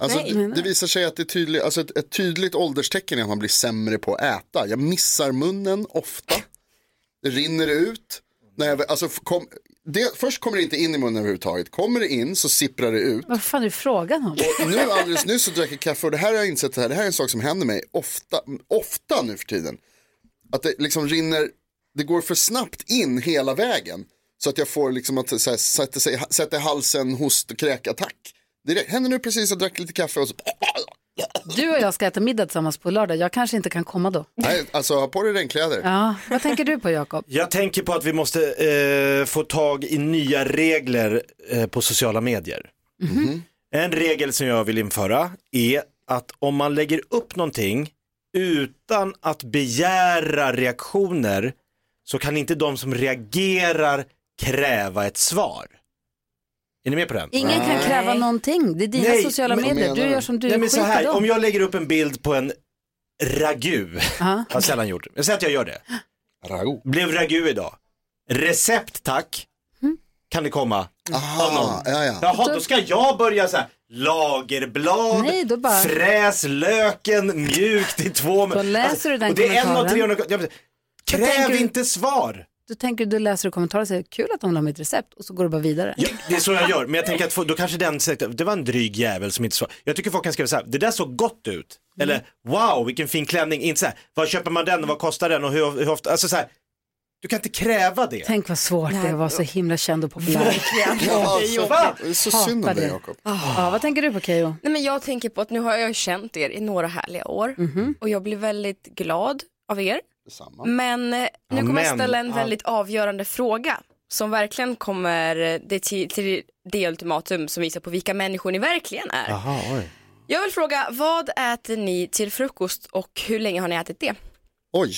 C: Alltså,
K: Nej.
C: det, det visar sig att det är tydlig, alltså ett, ett tydligt ålderstecken är att man blir sämre på att äta. Jag missar munnen ofta. Det rinner ut. När jag, alltså, kom, det, först kommer det inte in i munnen överhuvudtaget. Kommer det in så sipprar det ut.
A: Vad fan är frågan om?
C: Och nu alldeles nyss så drack jag kaffe och det här har jag insett, det här, det här är en sak som händer mig ofta, ofta nu för tiden. Att det liksom rinner, det går för snabbt in hela vägen. Så att jag får liksom att så här, sätter, sig, sätter halsen, host och kräkattack. Det är- händer nu precis, jag drack lite kaffe och så,
A: Du och jag ska äta middag tillsammans på lördag. Jag kanske inte kan komma då.
C: nej, alltså ha på dig regnkläder.
A: Ja, vad tänker du på Jakob?
D: Jag tänker på att vi måste eh, få tag i nya regler eh, på sociala medier.
A: Mhm.
D: En regel som jag vill införa är att om man lägger upp någonting utan att begära reaktioner så kan inte de som reagerar kräva ett svar. Är ni med på den?
A: Ingen kan kräva någonting. Det är dina
D: Nej,
A: sociala
D: men-
A: medier. Du gör som du
D: Nej, men så här,
A: dem.
D: om jag lägger upp en bild på en ragu, jag har sällan gjort det, jag säger att jag gör det. Blev ragu idag. Recept tack,
A: Mm.
D: kan det komma av någon.
C: ja, ja.
D: Jaha, då ska jag börja så här, lagerblad,
A: Nej, då bara-
D: fräs löken mjukt i två
A: Då läser du den
D: Och det är en av
A: kommentaren.
D: 300, Ja, men- kräv
A: tänker du-
D: inte svar.
A: Du tänker, du läser och kommentarer och säger kul att de la mitt recept och så går du bara vidare.
D: Ja, det är så jag gör, men jag tänker att få- då kanske den säger att det var en dryg jävel som inte svarade. Jag tycker folk kan skriva så här, det där såg gott ut.
K: Mm.
D: Eller wow, vilken fin klänning. Inte så här, vad köper man den och vad kostar den och hur, hur ofta, alltså så här, du kan inte kräva det.
A: Tänk vad svårt det är att vara så himla känd och populär.
K: Verkligen.
C: Ja,
K: Det är
C: så,
K: jobbigt.
C: det är så synd om
A: Hatar
C: dig
A: det.
C: Jakob.
A: Ja, vad tänker du på Keyyo?
K: Nej, men jag tänker på att nu har jag ju känt er i några härliga år
A: Mhm.
K: och jag blir väldigt glad av er. Men eh, nu
D: Ja,
K: kommer jag
D: men-
K: ställa en
D: ja.
K: väldigt avgörande fråga som verkligen kommer eh, det till, till det ultimatum som visar på vilka människor ni verkligen är.
D: Jaha, oj.
K: Jag vill fråga, vad äter ni till frukost och hur länge har ni ätit det?
C: Oj,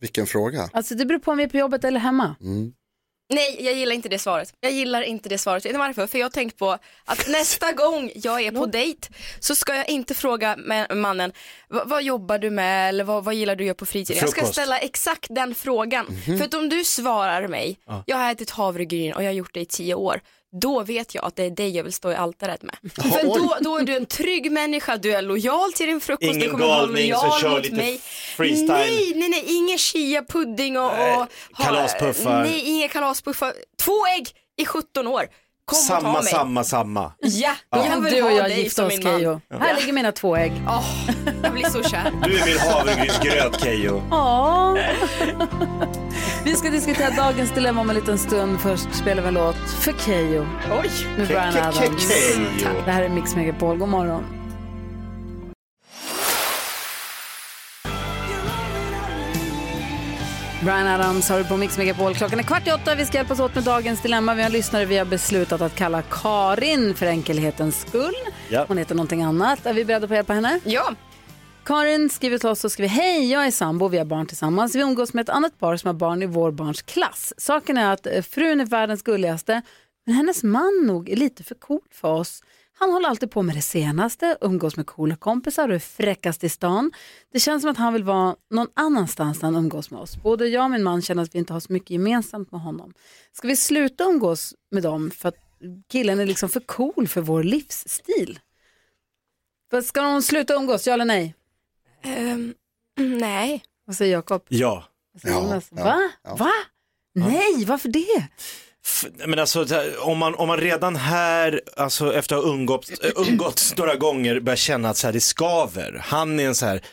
C: vilken fråga. Mm.
A: Alltså det beror på om vi är på jobbet eller hemma.
K: Nej, jag gillar inte det svaret. Jag gillar inte det svaret. Vet ni varför? För jag har tänkt på att nästa gång jag är på dejt så ska jag inte fråga ma- mannen "Va- vad jobbar du med eller vad, vad gillar du att göra på fritiden? Jag ska
D: Frukost. Mhm.
K: ställa exakt den frågan. För att om du svarar mig, jag har ätit havregryn och jag har gjort det i tio år, då vet jag att det är dig jag vill stå i altaret med. För
C: oj.
K: då, då är du en trygg människa, du är lojal till din frukost, du
D: Ingen
K: kommer vara
D: galning som
K: lojal
D: kör
K: mot
D: lite
K: mig.
D: freestyle.
K: Nej, nej, nej, ingen chia-pudding och, och ha-
D: kalaspuffar.
K: Nej, inga kalaspuffar. Två ägg i 17 år. Kom och ta
D: Samma,
K: mig.
D: samma, samma.
K: Ja, jag vill
A: Du och
K: ha
A: jag
K: dig
A: gifta
K: som
A: oss
K: min man.
A: Keyyo. Här ligger mina två ägg.
K: Åh, jag blir så kär.
D: Du är min havregrynsgröt Keyyo.
A: Ja. vi ska diskutera dagens dilemma om en liten stund. Först spelar vi en låt för Keyyo
K: Oj.
A: med Brian
D: Ke- ke- ke-
A: Adams.
D: Keyyo.
A: Mm. Det här är Mix Megapol. God morgon. Brian Adams har du på Mix Megapol. Klockan är kvart i åtta. Vi ska hjälpas åt med dagens dilemma. Vi har en lyssnare vi har beslutat att kalla Karin för enkelhetens skull.
D: Ja.
A: Hon heter någonting annat. Är vi beredda på att hjälpa henne?
K: Ja,
A: Karin skriver till oss och skriver Hej, jag är sambo och vi har barn tillsammans. Vi umgås med ett annat par som har barn i vår barns klass. Saken är att eh, frun är världens gulligaste, men hennes man nog är lite för cool för oss. Han håller alltid på med det senaste, umgås med coola kompisar och är fräckast i stan. Det känns som att han vill vara någon annanstans när han umgås med oss. Både jag och min man känner att vi inte har så mycket gemensamt med honom. Ska vi sluta umgås med dem för att killen är liksom för cool för vår livsstil? Vad, Ska de sluta umgås, ja eller nej?
K: nej.
A: Vad säger Jakob?
D: Ja.
A: Vad säger Jonas? Va? Va? Nej, varför det?
D: Men alltså, så här, om man, om man redan här, alltså efter att ha umgåtts, äh, umgåtts några gånger, börjar känna att så här, det skaver. Han är en så här,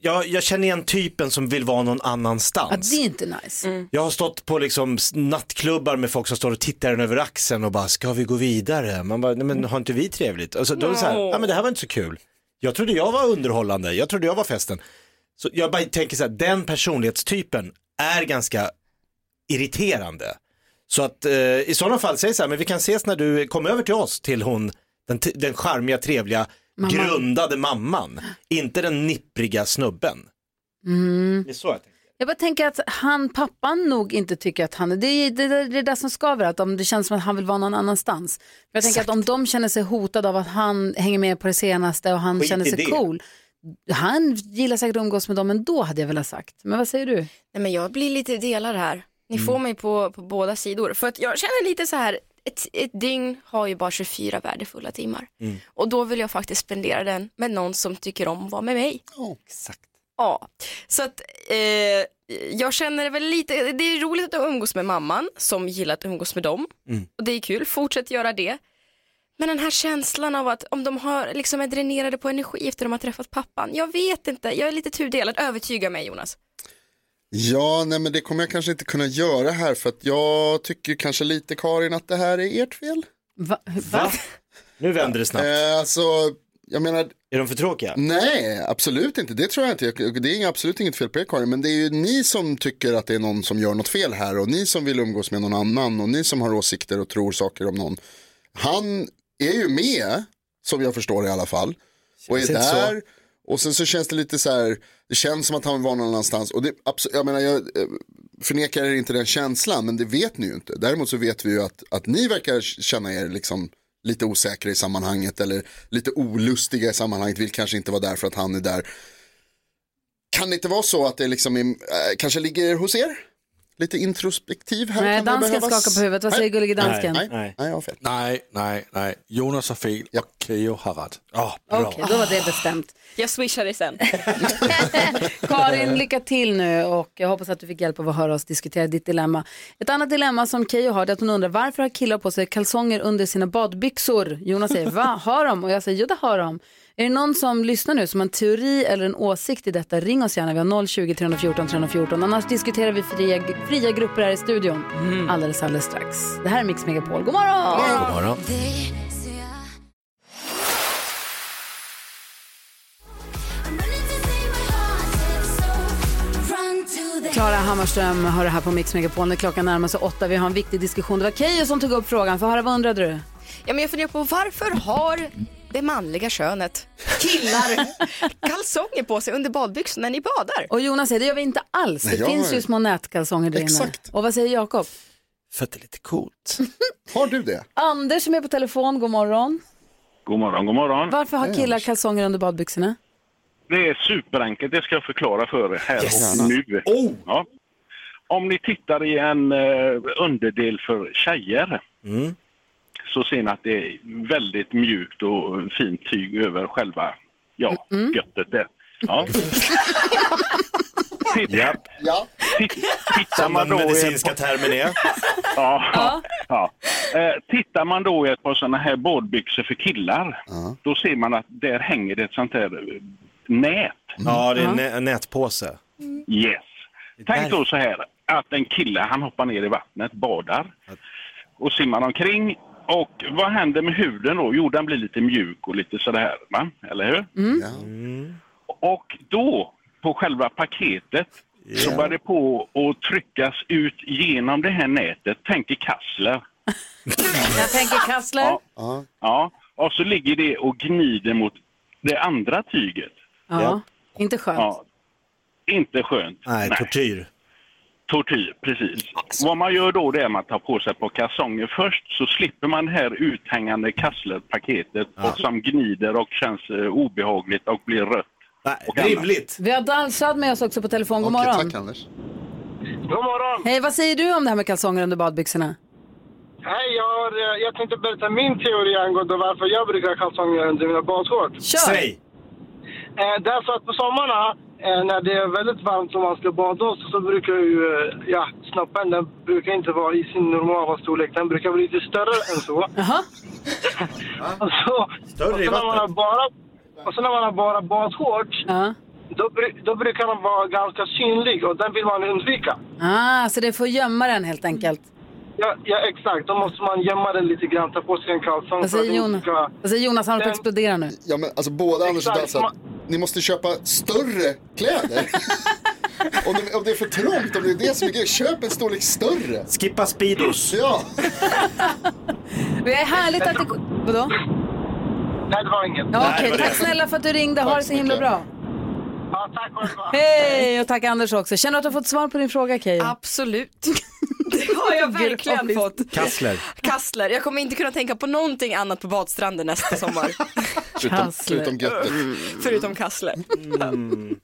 D: jag, jag känner igen typen som vill vara någon
A: Ja,
D: annanstans.
A: det är inte nice.
D: Jag har stått på liksom s- nattklubbar med folk som står och tittar en över axeln och bara, ska vi gå vidare? Man bara, nej
A: Mm.
D: men har inte vi trevligt? Alltså, då är det så här,
N: No.
D: ja men det här var inte så kul. Jag trodde jag var underhållande, jag trodde jag var festen. Så jag bara tänker så här, den personlighetstypen är ganska irriterande. Så att eh, i sådana fall, säg så här, men vi kan ses när du kommer över till oss, till hon, den, t- den charmiga, trevliga,
A: Mamman.
D: grundade mamman. Inte den nippriga snubben.
A: Mm.
D: Det är så jag tänker.
A: Jag bara tänker att han, pappan nog inte tycker att han är, det är det, är- det är det som skaver, att om det känns som att han vill vara någon annanstans. Jag tänker att om de känner sig hotade av att han hänger med på det senaste och han
K: Skit
A: känner
K: i
A: sig
K: det.
A: cool, han gillar säkert att umgås med dem ändå hade jag velat sagt. Men vad säger du?
K: Nej, men jag blir lite delad här. Ni
D: Mm.
K: får mig på, på båda sidor. För att jag känner lite så här, ett, ett dygn har ju bara 24 värdefulla timmar. Och då vill jag faktiskt spendera den med någon som tycker om att vara med mig.
D: exakt.
K: Ja, så att eh, jag känner det väl lite, det är roligt att umgås med mamman som gillar att umgås med dem.
D: Mm.
K: Och det är kul, fortsätt göra det. Men den här känslan av att om de har, liksom är dränerade på energi efter de har träffat pappan. Jag vet inte, jag är lite tudelad. Övertyga mig Jonas.
C: Ja, nej men det kommer jag kanske inte kunna göra här för att jag tycker kanske lite Karin att det här är ert fel.
A: Va?
D: Nu vänder det snabbt.
C: Eh, alltså, jag menar...
D: Är de för tråkiga?
C: Nej, absolut inte. Det tror jag inte. Jag- Det är inga- absolut inget fel på er Karin. Men det är ju ni som tycker att det är någon som gör något fel här. Och ni som vill umgås med någon annan. Och ni som har åsikter och tror saker om någon. Han är ju med, som jag förstår i alla fall. Och är
D: Känns inte så.
C: där. Och sen så känns det lite så här, det känns som att han var någon annanstans. Och det, abso- jag menar, jag eh, förnekar er inte den känslan, men det vet ni ju inte. Däremot så vet vi ju att, att ni verkar känna er liksom lite osäkra i sammanhanget eller lite olustiga i sammanhanget, vill kanske inte vara där för att han är där. Kan det inte vara så att det liksom är, eh, kanske ligger hos er? Lite introspektiv här?
A: Nej,
C: kan väl
A: dansken
C: behövas?
A: skakar på huvudet. Vad säger
C: Nej.
A: gullige dansken?
C: Nej, nej, nej, jag har fel.
E: Nej, nej, nej. Jonas har fel och Keyyo har rätt. Oh,
A: Okej, då var det bestämt.
K: Jag swishar dig sen.
A: Karin, lycka till nu och jag hoppas att du fick hjälp av att höra oss diskutera ditt dilemma. Ett annat dilemma som Keyyo har det är att hon undrar varför har killar på sig kalsonger under sina badbyxor? Jonas säger, va, har de? Och jag säger, jo det har de. Är det någon som lyssnar nu som har en teori eller en åsikt i detta, ring oss gärna. Vi har 020 314 314. Annars diskuterar vi fria, fria grupper här i studion alldeles, alldeles strax. Det här är Mix Megapol. God morgon!
E: Mm. God morgon.
A: Klara Hammarström har det här på Mix Megapol när klockan närmar sig åtta. Vi har en viktig diskussion. Det var Keyyo som tog upp frågan. För höra, vad undrade du?
K: Ja, men jag funderar på varför har det manliga könet, killar, kalsonger på sig under badbyxor när ni badar?
A: Och Jonas säger, det gör vi inte alls.
K: Nej,
A: det
K: jag
A: finns
K: har-
A: ju små nätkalsonger där inne.
K: Exakt.
A: Och vad säger Jakob?
D: För att det är lite coolt.
C: Har du det?
A: Anders som är på telefon, god morgon.
O: God morgon, god morgon.
A: Varför har killar kalsonger under badbyxorna?
O: Det är superenkelt, det ska jag förklara för er här
A: Yes.
O: och nu.
D: Oh!
O: Ja. Om ni tittar i en eh, underdel för tjejer
D: Mm.
O: så ser ni att det är väldigt mjukt och fint tyg över själva ja, göttet där. Ja. Titta,
C: ja.
O: tittar man då
D: den
O: i ett-
D: medicinska termen är.
O: Ja. ja. Eh, tittar man då i ett par sådana här badbyxor för killar, då ser man att där hänger det ett sånt här eh, nät.
D: Ja, det är en nä- en nätpåse.
O: Yes. Tänk då så här att en kille han hoppar ner i vattnet, badar och simmar omkring. Och vad händer med huden då? Jo, den blir lite mjuk och lite sådär, va? eller hur? Mm. Och då, på själva paketet, så var det på att tryckas ut genom det här nätet. Tänk i kassler.
A: Jag tänker Kassler.
O: Ja, och så ligger det och gnider mot det andra tyget.
A: Ja. Inte skönt.
O: Ja. Inte skönt.
D: Nej, tortyr. Alltså.
O: Tortyr, precis. Vad man gör då det är att man tar på sig på kalsonger först så slipper man det här uthängande kasslerpaketet och som gnider och känns eh, obehagligt och blir rött. Och annat.
A: Vi har Dalsad med oss också på telefon, god morgon.
C: Anders.
A: Hej, vad säger du om det här med kalsonger under badbyxorna?
P: Nej, jag
I: har, eh, jag tänkte berätta min teori angående varför jag brukar kalsonger under mina badshorts.
D: Kör! Säg!
I: Eh, därför att på sommarna, eh, när det är väldigt varmt och man ska bada så, så brukar ju, eh, ja, snoppen den brukar inte vara i sin normala storlek. Den brukar vara lite större än så. och så, och
D: i
I: så när man har bara, och så när man har bara badshorts, då, bru- då brukar den vara ganska synlig och den vill man undvika.
A: Ah, så det får gömma den helt enkelt.
I: Ja, ja, exakt. Då måste man gömma den lite grann, ta på sig en kalsong.
A: Vad
I: för att
A: säger
I: den
A: Jonas?
I: ska-
A: Vad säger Jonas? Han håller på att explodera nu.
C: Ja, men alltså både Anders och
I: Exakt.
C: Dansa, ni måste köpa större kläder. om, det, om det är för trångt, om det är det som är grejen, köp en storlek större.
D: Skippa Speedos.
C: Ja.
A: Det är härligt att det... Vadå?
I: Nej, det var inget.
A: Ja, okej. Tack snälla för att du ringde. Ha det så himla bra. Hej och tack Anders också. Känner du att du har fått svar på din fråga Keyyo?
K: Absolut. Det har jag verkligen fått.
D: Kassler.
K: Kassler. Jag kommer inte kunna tänka på någonting annat på badstranden nästa sommar.
C: Förutom, förutom göttet.
K: Förutom Kassler.
A: Mm.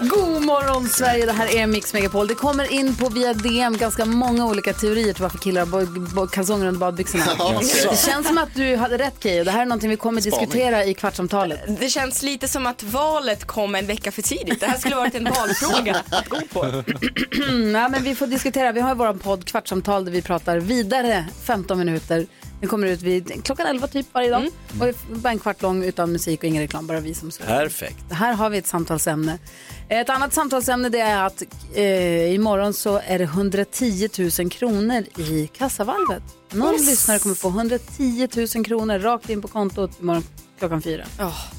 A: God morgon Sverige, det här är Mix Megapol. Det kommer in på via DM ganska många olika teorier till varför killar har bo- bo- kalsonger under badbyxorna.
K: Ja, okej.
A: Det känns som att du hade rätt Keyyo. Det här är någonting vi kommer
K: Spaning.
A: diskutera i kvartsamtalet.
K: Det känns lite som att valet kom en vecka för tidigt. Det här skulle varit en valfråga.
A: Nej, men vi får diskutera. Vi har ju vår podd Kvartsamtal där vi pratar vidare 15 minuter. Den kommer ut vid klockan 11 typ varje dag. Och är bara en kvart lång utan musik och ingen reklam, bara vi som står.
D: Perfekt.
A: Det Här har vi ett samtalsämne. Ett annat samtalsämne det är att eh, imorgon så är det 110 000 kronor i kassavalvet. Någon
K: Yes.
A: lyssnare kommer få 110 000 kronor rakt in på kontot imorgon klockan fyra.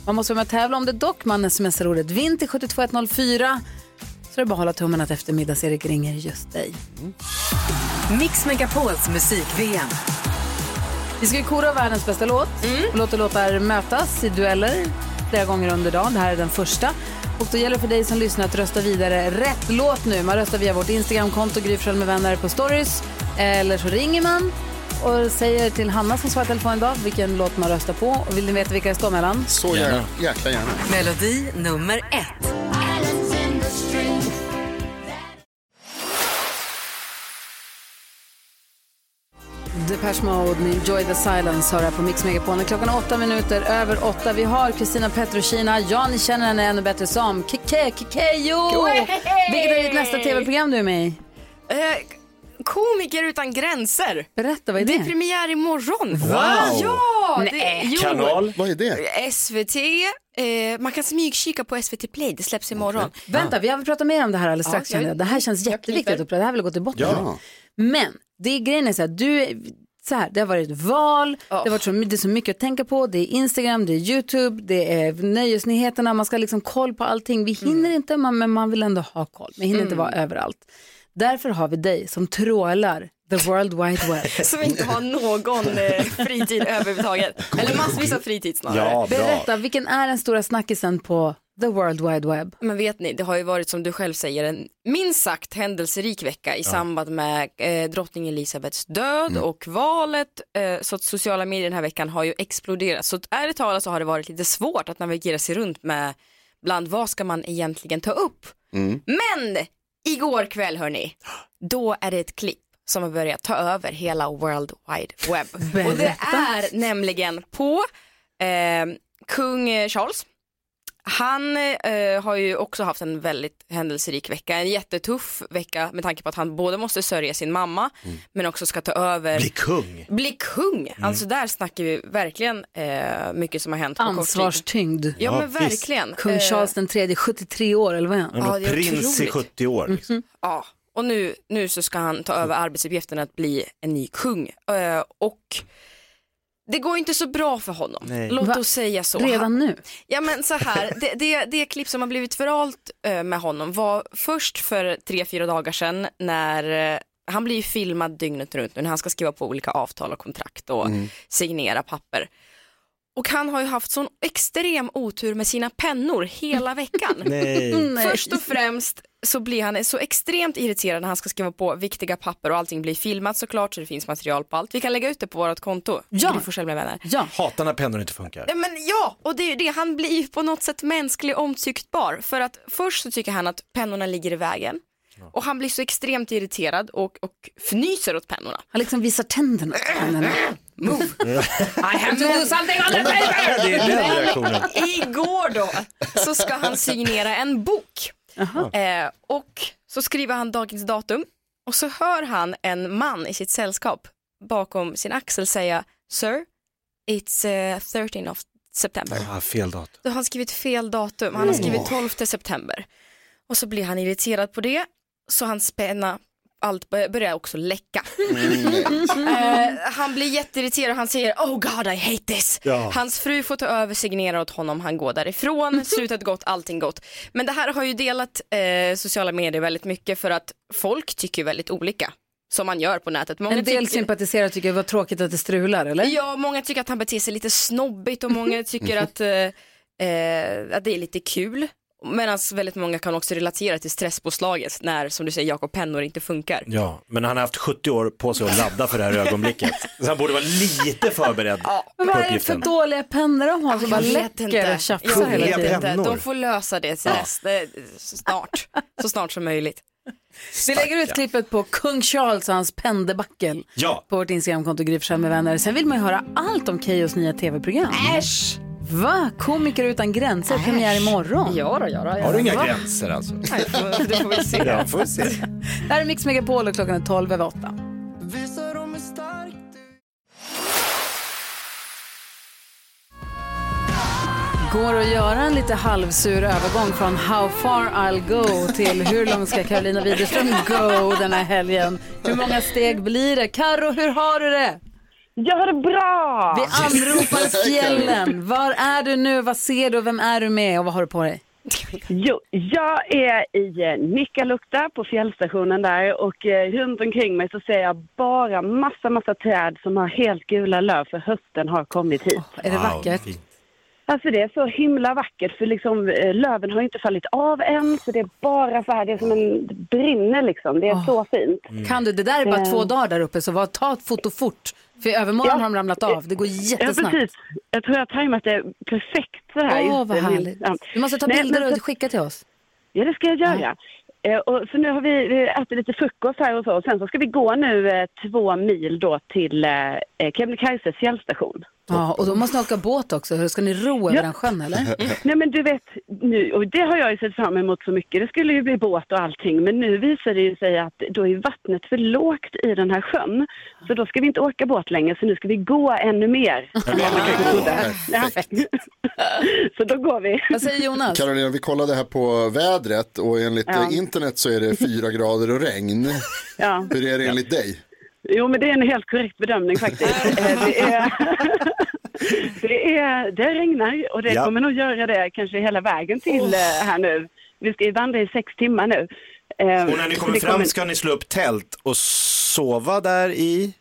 A: Man måste vara med och tävla om det dock. Man smsar ordet vinn till 72104. Så det är bara att hålla tummen att eftermiddags-Erik ringer just dig.
B: Mix Megapols musik-VM.
A: Vi ska ju kora världens bästa låt. Och låta låtar mötas i dueller flera gånger under dagen. Det här är den första. Och då gäller det för dig som lyssnar att rösta vidare rätt låt nu. Man röstar via vårt Instagramkonto, Gry Forssell med vänner på stories. Eller så ringer man och säger till Hanna som svarar i telefon idag vilken låt man röstar på. Och vill ni veta vilka det står mellan?
C: Så gärna. Jäkla gärna.
B: Melodi nummer ett.
A: Depeche Mode med Enjoy the Silence hör här på Mix Megapone. Klockan är åtta minuter över åtta. Vi har Kristina Petrushina. Ja, ni känner henne ännu bättre som Keke Kekeyo! Vilket är ditt nästa tv-program du är med i?
K: Eh, Komiker utan gränser.
A: Berätta, vad är
K: Det
A: det?
K: är premiär imorgon.
A: Wow.
K: Ja! Det,
A: Nej.
K: jo.
A: Kanal?
C: Vad är
K: SVT. Eh, man kan smygkika på SVT Play. Det släpps imorgon.
A: Vänta, vi har väl pratat mer om det här alldeles
K: Ja,
A: strax.
K: jag-
A: känner jag. Det här känns jätteviktigt att prata. Det här vill jag gå till botten med.
K: Ja.
A: Men det är grejen är så här, du, så här, det har varit val, det har varit så, det är så mycket att tänka på, det är Instagram, det är YouTube, det är nöjesnyheterna, man ska liksom koll på allting. Vi hinner inte, man, men man vill ändå ha koll. Man hinner inte
K: Mm.
A: vara överallt. Därför har vi dig som trålar the world wide web.
K: Som inte har någon eh, fritid överhuvudtaget. Eller massvis av fritid snarare.
A: Berätta, vilken är den stora snackisen på the world wide web?
K: Men vet ni, det har ju varit som du själv säger en minst sagt händelserik vecka i samband med eh, drottning Elisabeths död
A: Mm.
K: och valet. Eh, så att sociala medier den här veckan har ju exploderat. Så att ärligt talat så har det varit lite svårt att navigera sig runt med bland vad ska man egentligen ta upp.
C: Mm.
K: Men igår kväll hörni, då är det ett klipp som har börjat ta över hela World Wide Web. Och det är nämligen på eh, kung Charles. Han eh, har ju också haft en väldigt händelserik vecka, en jättetuff vecka med tanke på att han både måste sörja sin mamma men också ska ta över.
D: Mm. Bli kung. Mm.
K: Bli kung, alltså där snackar vi verkligen eh, mycket som har hänt på kort tid.
A: Ansvarstyngd.
K: Ja, Ja, men visst. verkligen.
A: Kung
K: Eh.
A: Charles den tredje, 73 år eller vad är han? Mm.
K: Han var Ja, det är prins i otroligt.
D: 70 år.
A: liksom.
K: Ja, och nu, nu så ska han ta över arbetsuppgiften att bli en ny kung. Eh, och det går inte så bra för honom,
A: Nej.
K: låt
A: Va?
K: oss säga så.
A: Redan nu?
K: Ja men så här, det, det, det klipp som har blivit viralt eh, med honom var först för tre, fyra dagar sedan när eh, han blir ju filmad dygnet runt nu när han ska skriva på olika avtal och kontrakt och
N: Mm.
K: signera papper. Och han har ju haft sån extrem otur med sina pennor hela veckan.
N: Nej. Nej.
K: Först och främst så blir han så extremt irriterad när han ska skriva på viktiga papper och allting blir filmat såklart så det finns material på allt. Vi kan lägga ut det på vårt konto.
D: Ja.
K: Gry Forssell med vänner.
D: Hatar när pennor inte funkar.
K: Ja, men ja, och det är ju det. Han blir ju på något sätt mänsklig och omtycktbar. För att först så tycker han att pennorna ligger i vägen. Och han blir så extremt irriterad och, och fnyser åt pennorna.
A: Han liksom visar tänderna. Mm. Tänderna.
K: Move! I have to
A: Men-
K: do something on the paper!
A: Det är den
K: Men
A: reaktionen.
K: Igår då så ska han signera en bok. Eh, och så skriver han dagens datum och så hör han en man i sitt sällskap bakom sin axel säga Sir, it's eh, 13 of September.
E: Ah, fel datum.
K: Då har han skrivit fel datum. Han har
E: Mm.
K: skrivit 12 september. Och så blir han irriterad på det. Så hans penna, allt bör- börjar också läcka.
D: Mm.
A: Mm.
K: Eh, han blir jätteirriterad. Han säger oh god I hate this.
N: Ja.
K: Hans fru får ta över, signera åt honom. Han går därifrån. Slutet gott, allting gott. Men det här har ju delat eh, sociala medier väldigt mycket för att folk tycker väldigt olika. Som man gör på nätet. Många
A: En del
K: tycker-
A: sympatiserar och tycker det var tråkigt att det strular, eller?
K: Ja, många tycker att han beter sig lite snobbigt och många tycker att, eh, eh, att det är lite kul. Medan väldigt många kan också relatera till stresspåslaget när, som du säger, Jakob Pennor inte funkar.
D: Ja, men han har haft 70 år på sig att ladda för det här ögonblicket. Så han borde vara lite förberedd
A: Men
D: på
A: vad är det för
D: uppgiften.
A: dåliga pennor de har som bara läcker och tjafsar
K: Jag
A: hela
K: vet
A: tiden?
K: inte. De får lösa det till
A: Ja.
K: nästa, Eh, snart. Så snart som möjligt.
A: Vi lägger ut klippet på kung Charles och hans penndebackel
K: Ja.
A: på vårt Instagramkonto Gry Forssell med vänner. Sen vill man ju höra allt om Keyyos nya tv-program. Äsch! Va? Komiker utan gränser, premiär imorgon. Ja då, ja då.
E: Har du inga gränser alltså?
K: Nej, du får väl se.
E: Ja, får vi se.
A: Det här är Mix Megapol och klockan är 12 över 8. Går att göra en lite halvsur övergång från How far I'll go till hur långt ska Carolina Widerström go den här helgen? Hur många steg blir det? Karo, hur har du det?
N: Jag har det bra!
A: Vi anropar fjällen. Var är du nu? Vad ser du? Vem är du med och vad har du på dig?
N: Jo, jag är i eh, Nikkaluokta på fjällstationen där och eh, runt omkring mig så ser jag bara massa, massa träd som har helt gula löv för hösten har kommit hit.
A: är det Wow, vackert? fint.
N: Alltså det är så himla vackert för liksom eh, löven har ju inte fallit av än så det är bara så här, det är som en det brinner liksom. Det är så fint.
A: Mm. Kan du? Det där är bara
N: Eh.
A: två dagar där uppe så var, ta ett foto fort. För i övermorgon har de ramlat av. Det går
N: Ja,
A: jättesnabbt.
N: precis. Jag tror jag har tajmat det perfekt så här.
A: Åh,
N: Just
A: vad
N: det, min-
A: härligt.
N: ja.
A: Du måste ta
N: Nej,
A: bilder
N: men
A: och
N: så-
A: skicka till oss.
N: Ja, det ska jag göra. Eh, Och, så nu har vi eh, ätit lite frukost här och så. Och sen så ska vi gå nu eh, två mil då till eh, eh, Kebnekaises fjällstation.
A: Ja, och då måste ni åka båt också. Hur Ska ni ro över den sjön eller?
N: Nej men du vet, nu, och det har jag ju sett fram emot så mycket. Det skulle ju bli båt och allting. Men nu visar det ju sig att då är vattnet för lågt i den här sjön. Så då ska vi inte åka båt längre, så nu ska vi gå ännu mer. Ja. så då går vi.
A: Vad säger Jonas?
C: Carolina, vi kollade här på vädret och enligt
N: Ja.
C: eh, internet så är det fyra grader och regn.
N: Ja.
C: Hur är det enligt dig?
N: Jo, men det är en helt korrekt bedömning faktiskt. Eh, det, är, det, är, det regnar och det
P: Ja.
N: kommer nog göra det kanske hela vägen till
P: Oh.
N: eh, här nu. Vi ska ju vandra i sex timmar nu. Eh,
D: Och när ni
N: så
D: Ehm, kommer
N: det
D: fram ska ni slå upp tält och sova där i?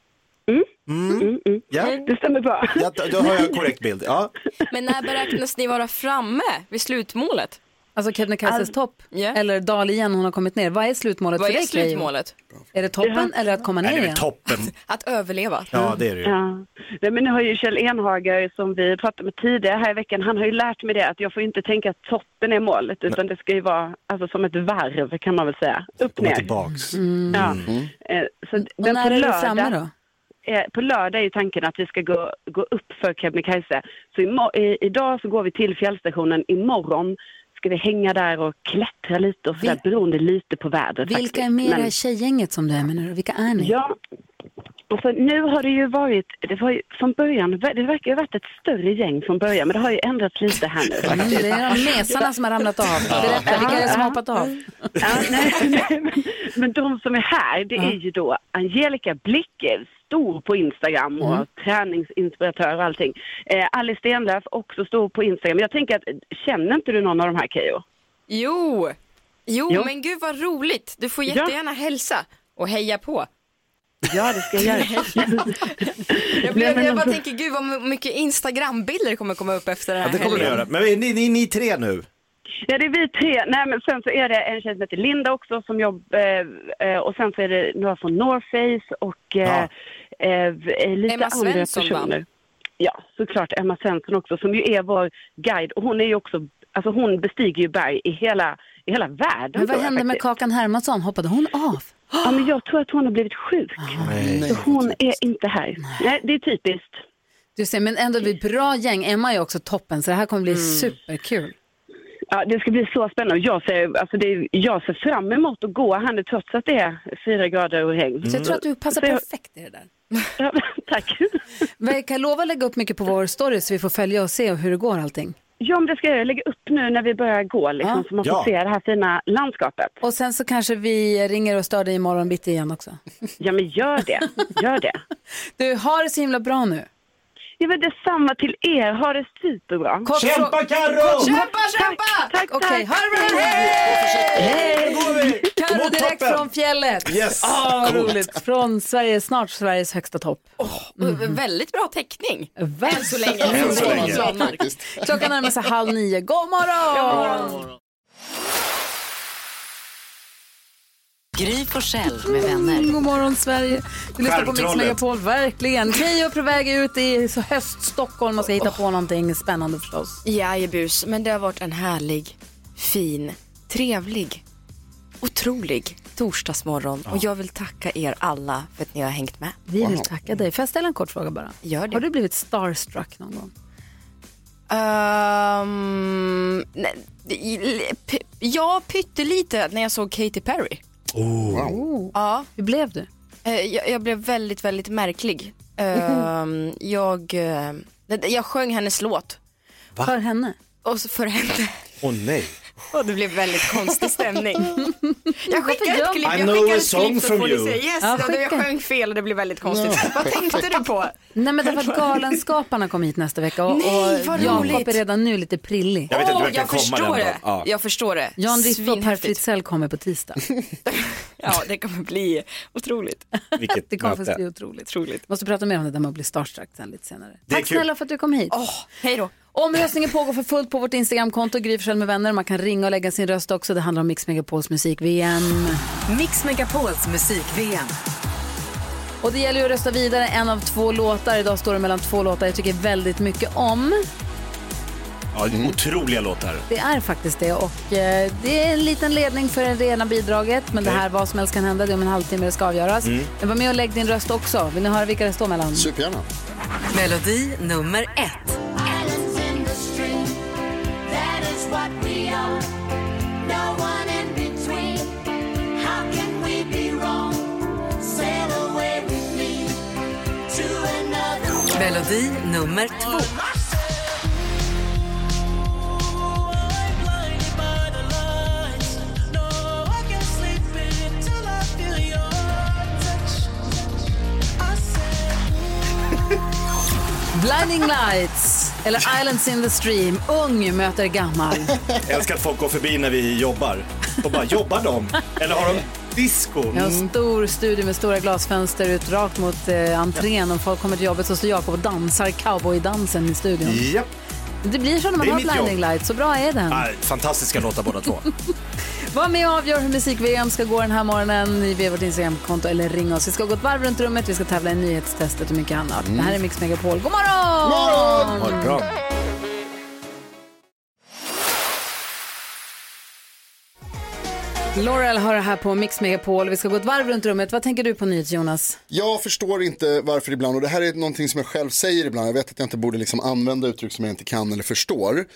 D: Mm. Ja.
N: Det stämmer bra.
D: Ja, då- då har jag en korrekt bild. Ja.
K: Men när beräknas ni vara framme vid slutmålet?
A: Alltså Kebnekaises
K: All-
A: topp eller dal igen hon har kommit ner. Vad är slutmålet
K: Vad
A: för
K: är
A: dig, Keyyo?
K: slutmålet?
A: Är det toppen eller att komma ner igen?
D: toppen.
K: Att överleva.
D: Ja, det är det ju.
N: Ja. Nej, men nu har ju Kjell Enhager som vi pratade med tidigare här i veckan, han har ju lärt mig det att jag får inte tänka att toppen är målet utan det ska ju vara alltså, som ett varv kan man väl säga. Upp
D: Komma
N: ner.
D: tillbaks.
N: Ja.
D: Mm.
N: Eh, Så,
A: Och när är du framme då?
N: Eh, På lördag är ju tanken att vi ska gå, gå upp för Kebnekaise. Så imo- i, idag så går vi till fjällstationen. Imorgon ska vi hänga där och klättra lite och sådär beroende lite på vädret.
A: Vilka är med i det här tjejgänget som du är med nu då? Vilka är ni?
N: Ja, Alltså, nu har det ju varit, det var ju från början, det verkar ju ha varit ett större gäng från början men det har ju ändrats lite här nu.
A: Mm,
N: faktiskt.
A: det är de mesarna som har ramlat av.
N: Ja.
A: Berätta, vilka är det som
N: Ja.
A: har hoppat av?
N: Men de som är här, det
A: Mm.
N: är ju då Angelica Blicker, stor på Instagram och
P: Mm.
N: träningsinspiratör och allting. Eh, Alice Stenlöf, också stor på Instagram. Jag tänker att, känner inte du någon av de här Keyyo?
K: Jo. jo,
N: Jo.
K: men gud vad roligt. Du får
N: Ja.
K: jättegärna hälsa och heja på.
N: Ja, det ska jag göra.
K: Jag,
N: Nej,
K: blev,
N: men
K: jag bara
N: alltså-
K: tänker, gud vad mycket Instagram-bilder kommer komma upp efter det här
D: Ja, det kommer ni
K: helgen.
D: göra. Men ni, ni, ni är tre nu.
N: Ja, det är vi tre. Nej, men sen så är det en tjej som heter Linda också som jobb... Eh, eh, och sen så är det några från North Face och eh, eh, lite
K: Emma
N: andra
K: Svensson, va?
N: personer. Ja, såklart Emma Svensson också som ju är vår guide. Och hon är ju också... Alltså hon bestiger ju berg i hela i hela världen.
A: Men
N: tror
A: vad
N: jag
A: hände med
N: faktiskt.
A: Kakan Hermansson? Hoppade hon av? Ah.
N: Ja, men jag tror att hon har blivit sjuk. Så hon är inte här. Nej, det är typiskt.
A: Du ser, men ändå vi är ett bra gäng. Emma är också toppen, så det här kommer
N: Mm.
A: bli superkul.
N: Ja, det ska bli så spännande. Jag ser, alltså det, är- jag ser fram emot att gå här nu trots att det är fyra grader och regn.
A: Så jag tror att du passar
N: Så jag-
A: perfekt i det där. Tack. Men jag kan lova att lägga upp mycket på vår story så vi får följa och se hur det går allting.
N: Ja, men det ska jag lägga upp nu när vi börjar gå, liksom, så man får
A: Ja.
N: se det här fina landskapet.
A: Och sen så kanske vi ringer och stör dig imorgon bitti igen också.
N: Ja, men gör det. Gör det.
A: Du, har det så himla bra nu.
N: Ja, men detsamma till er. Ha det superbra.
A: Kort Kämpa, fråga- Karo! Kort- Kämpa,
N: kämpa! Tack, tack,
A: Okej,
N: tack.
A: ha det bra! Hej!
N: Nu går vi.
A: Karo
N: Mot
A: direkt
N: toppen.
A: från fjället.
N: Yes.
A: Ah, vad
N: Coolt.
A: roligt. Från Sverige, snart Sveriges högsta topp.
K: Väldigt bra täckning.
A: Väl
K: Mm. så länge. Än så länge. Faktiskt.
A: Klockan närmar sig halv nio. God morgon!
B: Gry Forssell med vänner.
A: Mm, God morgon Sverige. Du lyssnar på Mix
B: Skärmtrollet.
A: Megapol, verkligen. Keyyo är på väg ut i så höst-Stockholm och ska
K: Oh.
A: hitta på någonting spännande förstås.
K: Jajebus, men det har varit en härlig, fin, trevlig, otrolig torsdagsmorgon. Och jag vill tacka er alla för att ni har hängt med.
A: Vi vill tacka dig. Får jag ställa en kort fråga bara?
K: Gör det.
A: Har du blivit starstruck någon gång?
K: Ehm, nej, i- p- ja, pyttelite när jag såg Katy Perry.
D: Oh.
K: Ja.
A: Hur blev du?
K: Eh, Jag, jag blev väldigt, väldigt märklig. Ehm, jag, eh, det- jag sjöng hennes låt.
A: Va? För henne?
K: Och så för henne.
D: Åh nej.
K: Och det blev väldigt konstig stämning. jag
A: gör
K: skickade ett
A: man-
K: klipp,
D: I
K: jag
D: know
K: skickade
D: a
K: ett
D: song
K: klipp så
D: from
K: får ni
D: you.
K: säga yes.
A: Ja,
K: då, jag
A: skicka.
K: sjöng fel och det blev väldigt konstigt. Vad tänkte du på?
A: Nej men därför att Galenskaparna kommer hit nästa vecka och,
K: Nej,
A: och
K: vad
A: Jakob
K: roligt.
A: är redan nu lite prillig.
K: Jag vet inte hur Åh, jag jag kan komma förstår den dagen. det. Ja. Jag förstår det.
A: Jan Rippe och Per
K: Svinhäftigt.
A: Fritzell kommer på tisdag.
K: Ja, det kommer bli otroligt.
A: Vilket Det kommer möte. faktiskt bli otroligt. Måste prata mer om det där med att bli starstruck sen lite senare.
K: Det är
A: Tack
K: kul.
A: snälla för att du kom hit.
K: hej då.
A: Omröstningen pågår för fullt på vårt Instagramkonto, Gry Forssell med vänner. Man kan ringa och lägga sin röst också. Det handlar om Mix Megapols musik-VM.
B: Mix Megapols musik-VM.
A: Och det gäller ju att rösta vidare en av två låtar. Idag står det mellan två låtar jag tycker väldigt mycket om.
D: Ja, otroliga låtar.
A: Det är faktiskt det och eh, det är en liten ledning för det rena bidraget. Men det
D: Mm.
A: här, vad som helst kan hända, det är om en halvtimme det ska avgöras.
B: Mm.
A: Men var med och lägg din röst också. Vill ni höra vilka det står mellan? Supergärna.
B: Melodi nummer ett. Melodi nummer två.
A: Blinding Lights, eller Islands in the Stream. Ung möter gammal.
D: Jag älskar att folk går förbi när vi jobbar. Och bara, jobbar de? Eller har de disco?
A: Jag har en stor studio med stora glasfönster ut rakt mot eh, entrén. Om folk kommer till jobbet så står Jakob och dansar cowboydansen i studion.
D: Mm. Japp.
A: Det blir så när man
D: Det är
A: har
D: mitt
A: Blinding
D: jobb.
A: Lights. Så bra är den.
D: Nej, fantastiska låtar båda två.
A: Var med och avgör hur musik-VM ska gå den här morgonen. Ni via vårt Instagramkonto eller ring oss. Vi ska gå ett varv runt rummet, vi ska tävla i nyhetstestet och mycket annat.
B: Mm.
A: Det här är Mix Megapol. God morgon!
B: Ha det bra.
A: Laurel har det här på Mix Megapol. Vi ska gå ett varv runt rummet. Vad tänker du på nyhet, Jonas?
C: Jag förstår inte varför ibland, och det här är någonting som jag själv säger ibland, jag vet att jag inte borde liksom använda uttryck som jag inte kan eller förstår.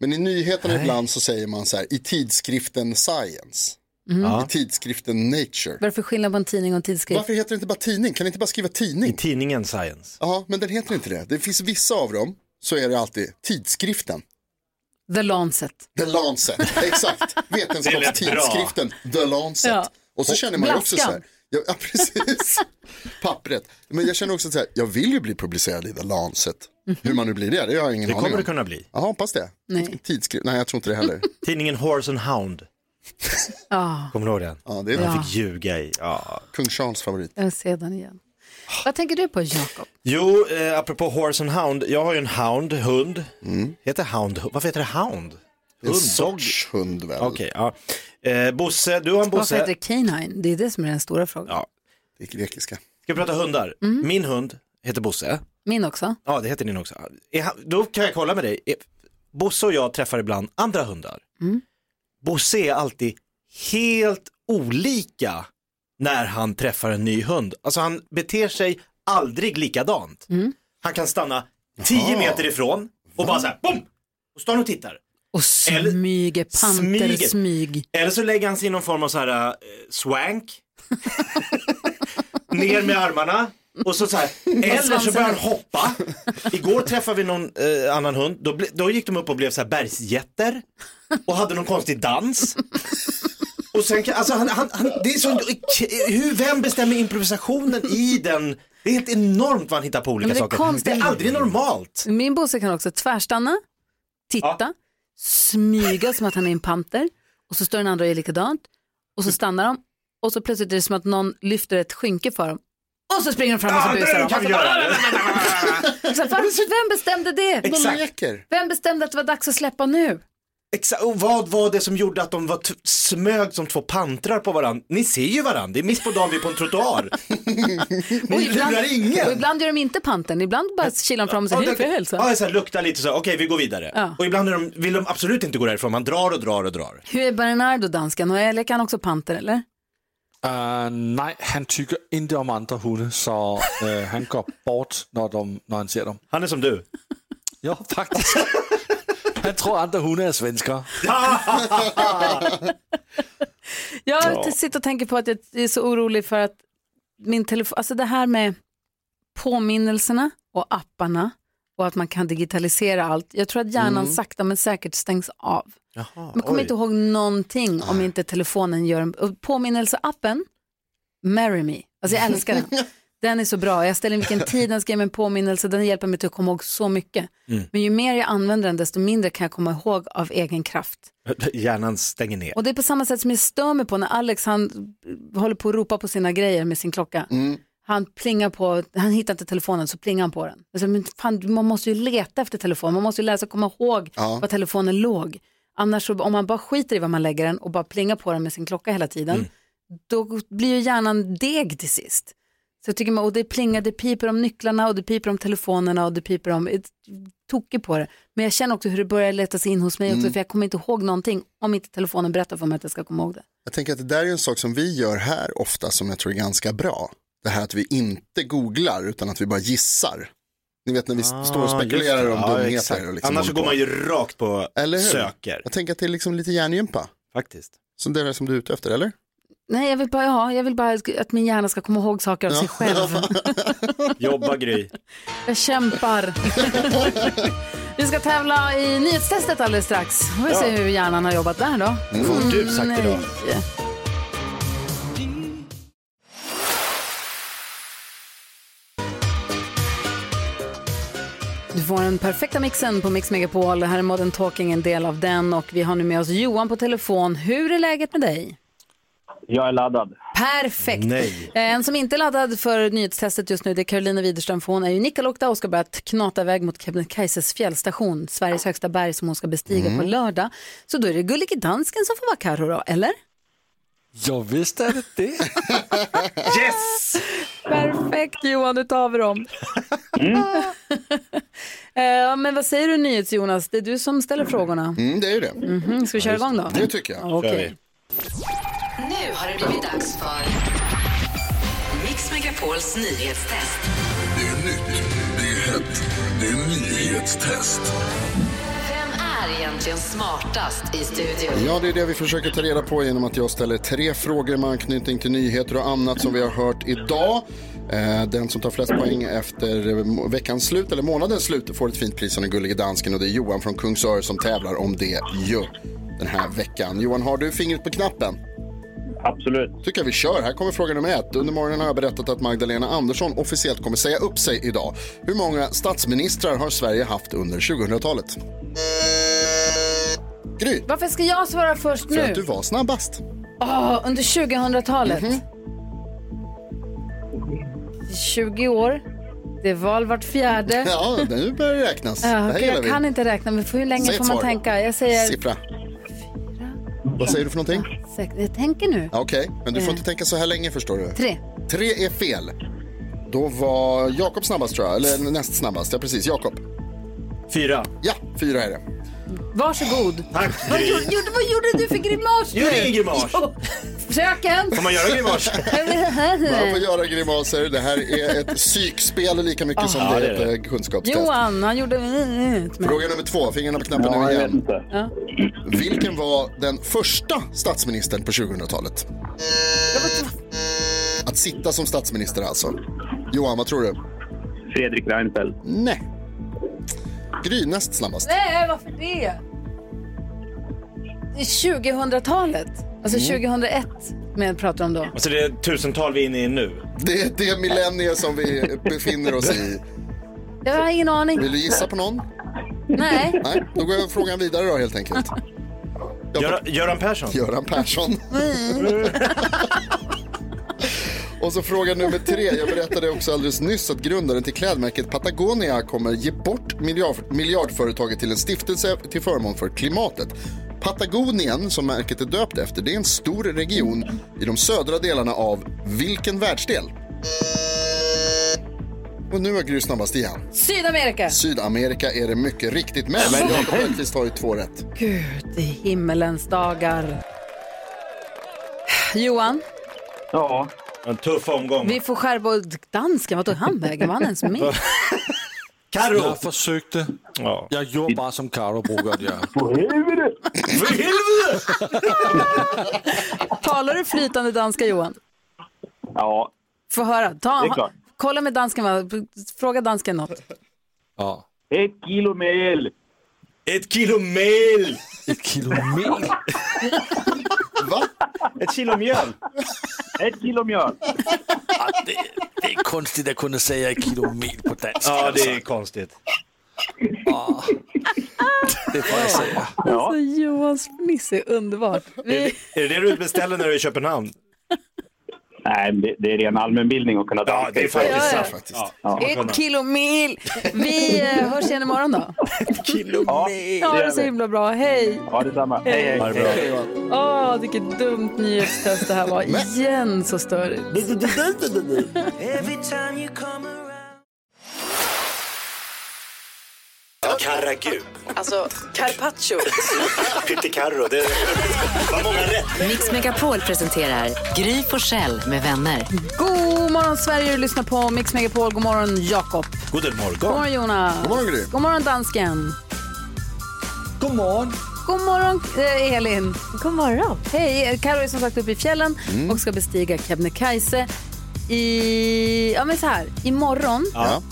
C: Men i nyheterna ibland så säger man så här, i tidskriften Science,
A: Mm. Ja.
C: i tidskriften Nature.
A: Varför skillnad på en tidning och en tidskrift?
C: Varför heter det inte bara tidning? Kan ni inte bara skriva tidning? I
D: tidningen Science.
C: Ja, men den heter inte det. Det finns vissa av dem, så är det alltid tidskriften.
A: The Lancet.
C: The Lancet, exakt. Vetenskapstidskriften The Lancet.
A: Ja.
C: Och så
A: Och
C: känner man ju också så
A: Blaskan.
C: här. Ja, ja, precis. Pappret. Men jag känner också så här, jag vill ju bli publicerad i The Lancet.
A: Mhm.
C: Hur man nu blir det, det har jag ingen
D: Det
C: aning
D: kommer
C: om.
D: du kunna bli.
C: Ja, hoppas det.
A: Nej.
C: Tidskrift, nej jag tror inte det heller.
D: Tidningen Horse and Hound.
A: Ja,
D: Kommer du ihåg den?
C: Ja, det är-
D: Han
A: Ja.
D: fick ljuga i. Ja.
C: Kung Charles favorit.
A: jag ser den igen. Vad tänker du på, Jakob?
D: Jo, eh, apropå Horse and Hound. Jag har ju en hound, hund. Heter hound, varför heter det hound?
C: Mm. En sorts hund väl?
D: Okej, ja. Eh, Bosse, du har en
A: Varför
D: Bosse.
A: heter det Canine? Det är det som är den stora frågan.
D: Ja.
C: Det är grekiska.
D: Ska vi prata hundar?
A: Mm.
D: Min hund heter Bosse.
A: Min också.
D: Ja, det heter din också. Är han, då kan jag kolla med dig. Är- Bosse och jag träffar ibland andra hundar.
A: Mm.
D: Bosse är alltid helt olika när han träffar en ny hund. Alltså han beter sig aldrig likadant.
A: Mm.
D: Han kan stanna 10
A: Jaha.
D: meter ifrån och bara så här, bom! Och står han och tittar.
A: Och smyger, panter,
D: smyger.
A: smyg.
D: Eller så lägger han sig i någon form av så här eh, swank. Ner med armarna. Och så, så här. Eller så
A: svansen
D: börjar han
A: upp.
D: hoppa. Igår träffade vi någon eh, annan hund. Då, ble, då gick de upp och blev så här bergsjätter. Och hade någon konstig dans. Och sen, kan- alltså han, han, han, det är så, hur, vem bestämmer improvisationen i den? Det är helt enormt vad han hittar på olika
A: Men det är
D: saker.
A: konstigt.
D: Det är aldrig normalt.
A: Min Bosse kan också tvärstanna, titta, smyga som att han är en panter och så står den andra och gör likadant och så stannar de och så plötsligt är det som att någon lyfter ett skynke för dem och så springer de fram och så
D: Ah,
A: busar
D: det
A: de.
D: kan vi göra.
A: Mm. Så här, varför- Vem bestämde det? Vem bestämde att det var dags att släppa nu?
D: Exakt, och vad var det som gjorde att de var t- smög som två pantrar på varandra? Ni ser ju varandra, det är mitt på dagen vi är på en trottoar.
A: Och
D: Ni lurar
A: och
D: ingen.
A: ibland gör de inte pantern, ibland bara kilar de fram och säger hej får jag hälsa?
D: Ja, så här, luktar lite så här, okej vi går vidare.
A: Ja.
D: Och ibland är de, vill de absolut inte gå därifrån, man drar och drar och drar.
A: Hur är Bernardo dansken? Och eller kan också panter eller?
E: Uh, nej, han tycker inte om andra hunde, så øh, han går bort, när, de, när han ser dem.
D: Han är som du.
E: Ja, faktiskt. han tror andra hunde är svenskar.
A: Jag
E: Ja.
A: sitter och tänker på att jag är så orolig för att min telefon, alltså det här med påminnelserna och apparna och att man kan digitalisera allt. Jag tror att hjärnan
P: Mm.
A: sakta men säkert stängs
H: Ah,
A: av.
D: Jaha,
A: Man kommer
P: oj.
A: inte ihåg någonting om inte telefonen gör en... och Påminnelseappen, Marry Me. Alltså jag älskar den. Den är så bra. Jag ställer in vilken tid den ska ge mig en påminnelse. Den hjälper mig till att komma ihåg så mycket.
D: Mm.
A: Men ju mer jag använder den, desto mindre kan jag komma ihåg av egen kraft.
D: Hjärnan stänger ner.
A: Och det är på samma sätt som jag stör mig på när Alex han håller på att ropa på sina grejer med sin klocka.
P: Mm.
A: Han plingar på, han hittar inte telefonen så plingar han på den. Alltså, men fan, man måste ju leta efter telefonen, man måste ju lära sig komma ihåg
P: Ja.
A: var telefonen låg. Annars så, om man bara skiter i var man lägger den och bara plingar på den med sin klocka hela tiden,
P: Mm.
A: då blir ju hjärnan deg till sist. Så jag tycker man, och det plingar, det piper om nycklarna och det piper om telefonerna och det piper om, ett- tokig på det. Men jag känner också hur det börjar leta sig in hos mig också,
C: Mm.
A: för jag kommer inte ihåg någonting om inte telefonen berättar för mig att jag ska komma ihåg det.
C: Jag tänker att det där är en sak som vi gör här ofta som jag tror är ganska bra. Det här att vi inte googlar utan att vi bara gissar. Ni vet när vi
D: Ah,
C: står och spekulerar
D: just det.
C: om
D: Ja, exakt.
C: dumheter. Och liksom
D: Annars så
C: håller
D: går
C: på.
D: man ju rakt på
C: Eller hur?
D: söker.
C: Jag tänker att det är liksom lite hjärngympa.
D: Faktiskt.
C: Så det är det som du är ute efter, eller?
A: Nej, jag vill bara, ja, jag vill bara att min hjärna ska komma ihåg saker av sig själv.
D: Jobba Gry.
A: Jag kämpar. Vi ska tävla i nyhetstestet alldeles strax. Vi får vi se
P: Ja.
A: hur hjärnan har jobbat där då.
P: Nu får du
A: Mm,
P: sagt det då.
A: nej. Du får den perfekta mixen på Mix Megapol. Här är Modern Talking en del av den och vi har nu med oss Johan på telefon. Hur är läget med dig?
Q: Jag är laddad.
A: Perfekt.
Q: Nej.
A: Eh, En som inte är laddad för nyhetstestet just nu det är Carolina Widerström för hon är ju Nikkaluokta och ska börja t- knata iväg mot Kebnekaises fjällstation, Sveriges högsta berg som hon ska bestiga
E: Mm.
A: på lördag. Så då är det Gullige Dansken som får vara Carro då, eller?
E: Ja, visst är det det.
D: yes!
A: Perfekt Johan, nu tar vi dem. Mm. Eh, Men vad säger du NyhetsJonas? Det är du som ställer frågorna.
C: Mm, det är ju det.
A: Mhm, Ska vi köra igång då?
C: Det tycker jag.
A: Okej. Kör vi.
B: Nu har det blivit dags för Mix Megapols nyhetstest.
H: Det är nytt, det är hett, det är nyhetstest.
B: Vem är egentligen smartast i studion?
C: Ja, det är det vi försöker ta reda på genom att jag ställer tre frågor med anknytning till nyheter och annat som vi har hört idag. Eh, Den som tar flest poäng efter eh, må- veckans slut eller månadens slut får ett fint pris av den gullige dansken och det är Johan från Kungsör som tävlar om det ju den här veckan. Johan, har du fingret på knappen?
Q: Absolut.
C: tycker jag vi kör. Här kommer fråga nummer ett. Under morgonen har jag berättat att Magdalena Andersson officiellt kommer säga upp sig idag. Hur många statsministrar har Sverige haft under 2000-talet? Gry,
A: Varför ska jag svara först
C: för att
A: nu?
C: du var snabbast.
A: Åh, Ah, under 2000-talet.
C: Mhm.
A: 20 år. Det är val vart fjärde.
C: Ja, nu börjar det räknas.
A: Ja,
C: det här
A: okej,
C: gillar
A: jag
C: vi.
A: kan inte räkna, men för hur länge
C: Säg ett
A: får man
C: svar.
A: tänka? Jag säger...
C: Siffra. Vad säger du för någonting?
A: Säk- Jag tänker nu.
C: Ja, Okej, men du får
A: Eh.
C: inte tänka så här länge förstår du.
A: Tre.
C: Tre är fel. Då var Jakob snabbast tror jag, eller näst snabbast. Ja, precis. Jakob.
D: Fyra.
C: Ja, fyra är det.
A: Varsågod.
D: Tack,
A: Vad
D: Gry.
A: gjorde, gjorde- vad gjorde du för grimas?
D: Gjorde
A: nu?
D: ingen grimas.
A: Jo. Fröken!
D: Får man göra grimas?
C: Man får göra grimaser. Det här är ett psykspel lika mycket som
A: Ja,
C: det
A: det
C: är
A: är
C: ett eh, kunskapstest.
A: Johan, han gjorde... ett med-
C: Fråga nummer två, fingrarna på knappen
A: Ja,
C: nu
A: jag
C: igen.
A: vet Ja.
C: Vilken var den första statsministern på 2000-talet? Att sitta som statsminister alltså. Johan, vad tror du? Fredrik Reinfeldt. Nej. Gry, näst snabbast.
A: Nej, varför det? Det är 2000-talet.
C: Mm.
A: Alltså 2001 men pratar om då.
D: Alltså det är tusental vi är inne i nu.
C: Det är det millennier som vi befinner oss i.
A: Jag har ingen aning.
C: Vill du gissa på någon?
A: Nej.
C: Nej, då går jag frågan vidare då helt enkelt.
D: Göran, Göran Persson?
C: Göran Persson. Och så fråga nummer tre. Jag berättade också alldeles nyss att grundaren till klädmärket Patagonia kommer ge bort miljard, miljardföretaget till en stiftelse till förmån för klimatet. Patagonien, som märket är döpt efter, det är en stor region i de södra delarna av vilken världsdel? Och nu har Gry snabbast igen.
A: Sydamerika.
C: Sydamerika är det mycket riktigt med, men Jakob Hellqvist har ju två rätt.
A: Gud i himmelens dagar. Johan,
D: Ja. En tuff omgång.
A: vi får skärpa och dansken. Vad tog han vägen? Var han ens med?
D: Karo.
E: Jag försökte. Jag gjorde bara som Karo brukar att göra. För helvete! För
D: helvete!
A: Talar du flytande danska Johan?
Q: Ja,
A: Få höra. Ta,
Q: Det är klart.
A: kolla med dansken. Va? Fråga dansken något.
E: Ja.
Q: ett kilo mel.
D: Ett kilo mel!
E: Ett kilo mel?
C: Va?
D: Ett kilo mjöl?
Q: Ett kilo mjöl.
E: Det är konstigt att kunna säga ett kilo mel på danska.
D: Ja, det är konstigt.
E: Ja. Det får jag säga.
A: Alltså, Johans fniss är underbart. Vi...
D: Är det det du beställer när du är i Köpenhamn?
Q: Nej, men det, det är ren allmänbildning att kunna danska.
D: det är faktiskt
A: Ja, ja.
D: så faktiskt.
A: Ett kilo mil. Vi eh, hörs igen imorgon då.
D: kilo
Q: mel.
A: Ja, det är så himla bra. Hej!
Q: Ja, detsamma. Hej, hej.
A: Ha det bra. Åh, vilket dumt nyhetstest det här var. Igen så störigt.
D: Karagub.
B: Alltså, carpaccio.
D: Pyttikarro. Det var många rätt.
B: Mix Megapol presenterar Gry Forssell med vänner.
A: God morgon Sverige, du lyssnar på Mix Megapol. God morgon Jakob.
D: God morgon.
A: God morgon Jonas.
D: God morgon, Gry.
A: God morgon dansken.
E: God morgon.
A: God morgon eh, Elin. God morgon. Hej, eh, Karo är som sagt uppe i fjällen
B: Mm.
A: och ska bestiga Kebnekaise i, ja men så här, imorgon.
C: Ja.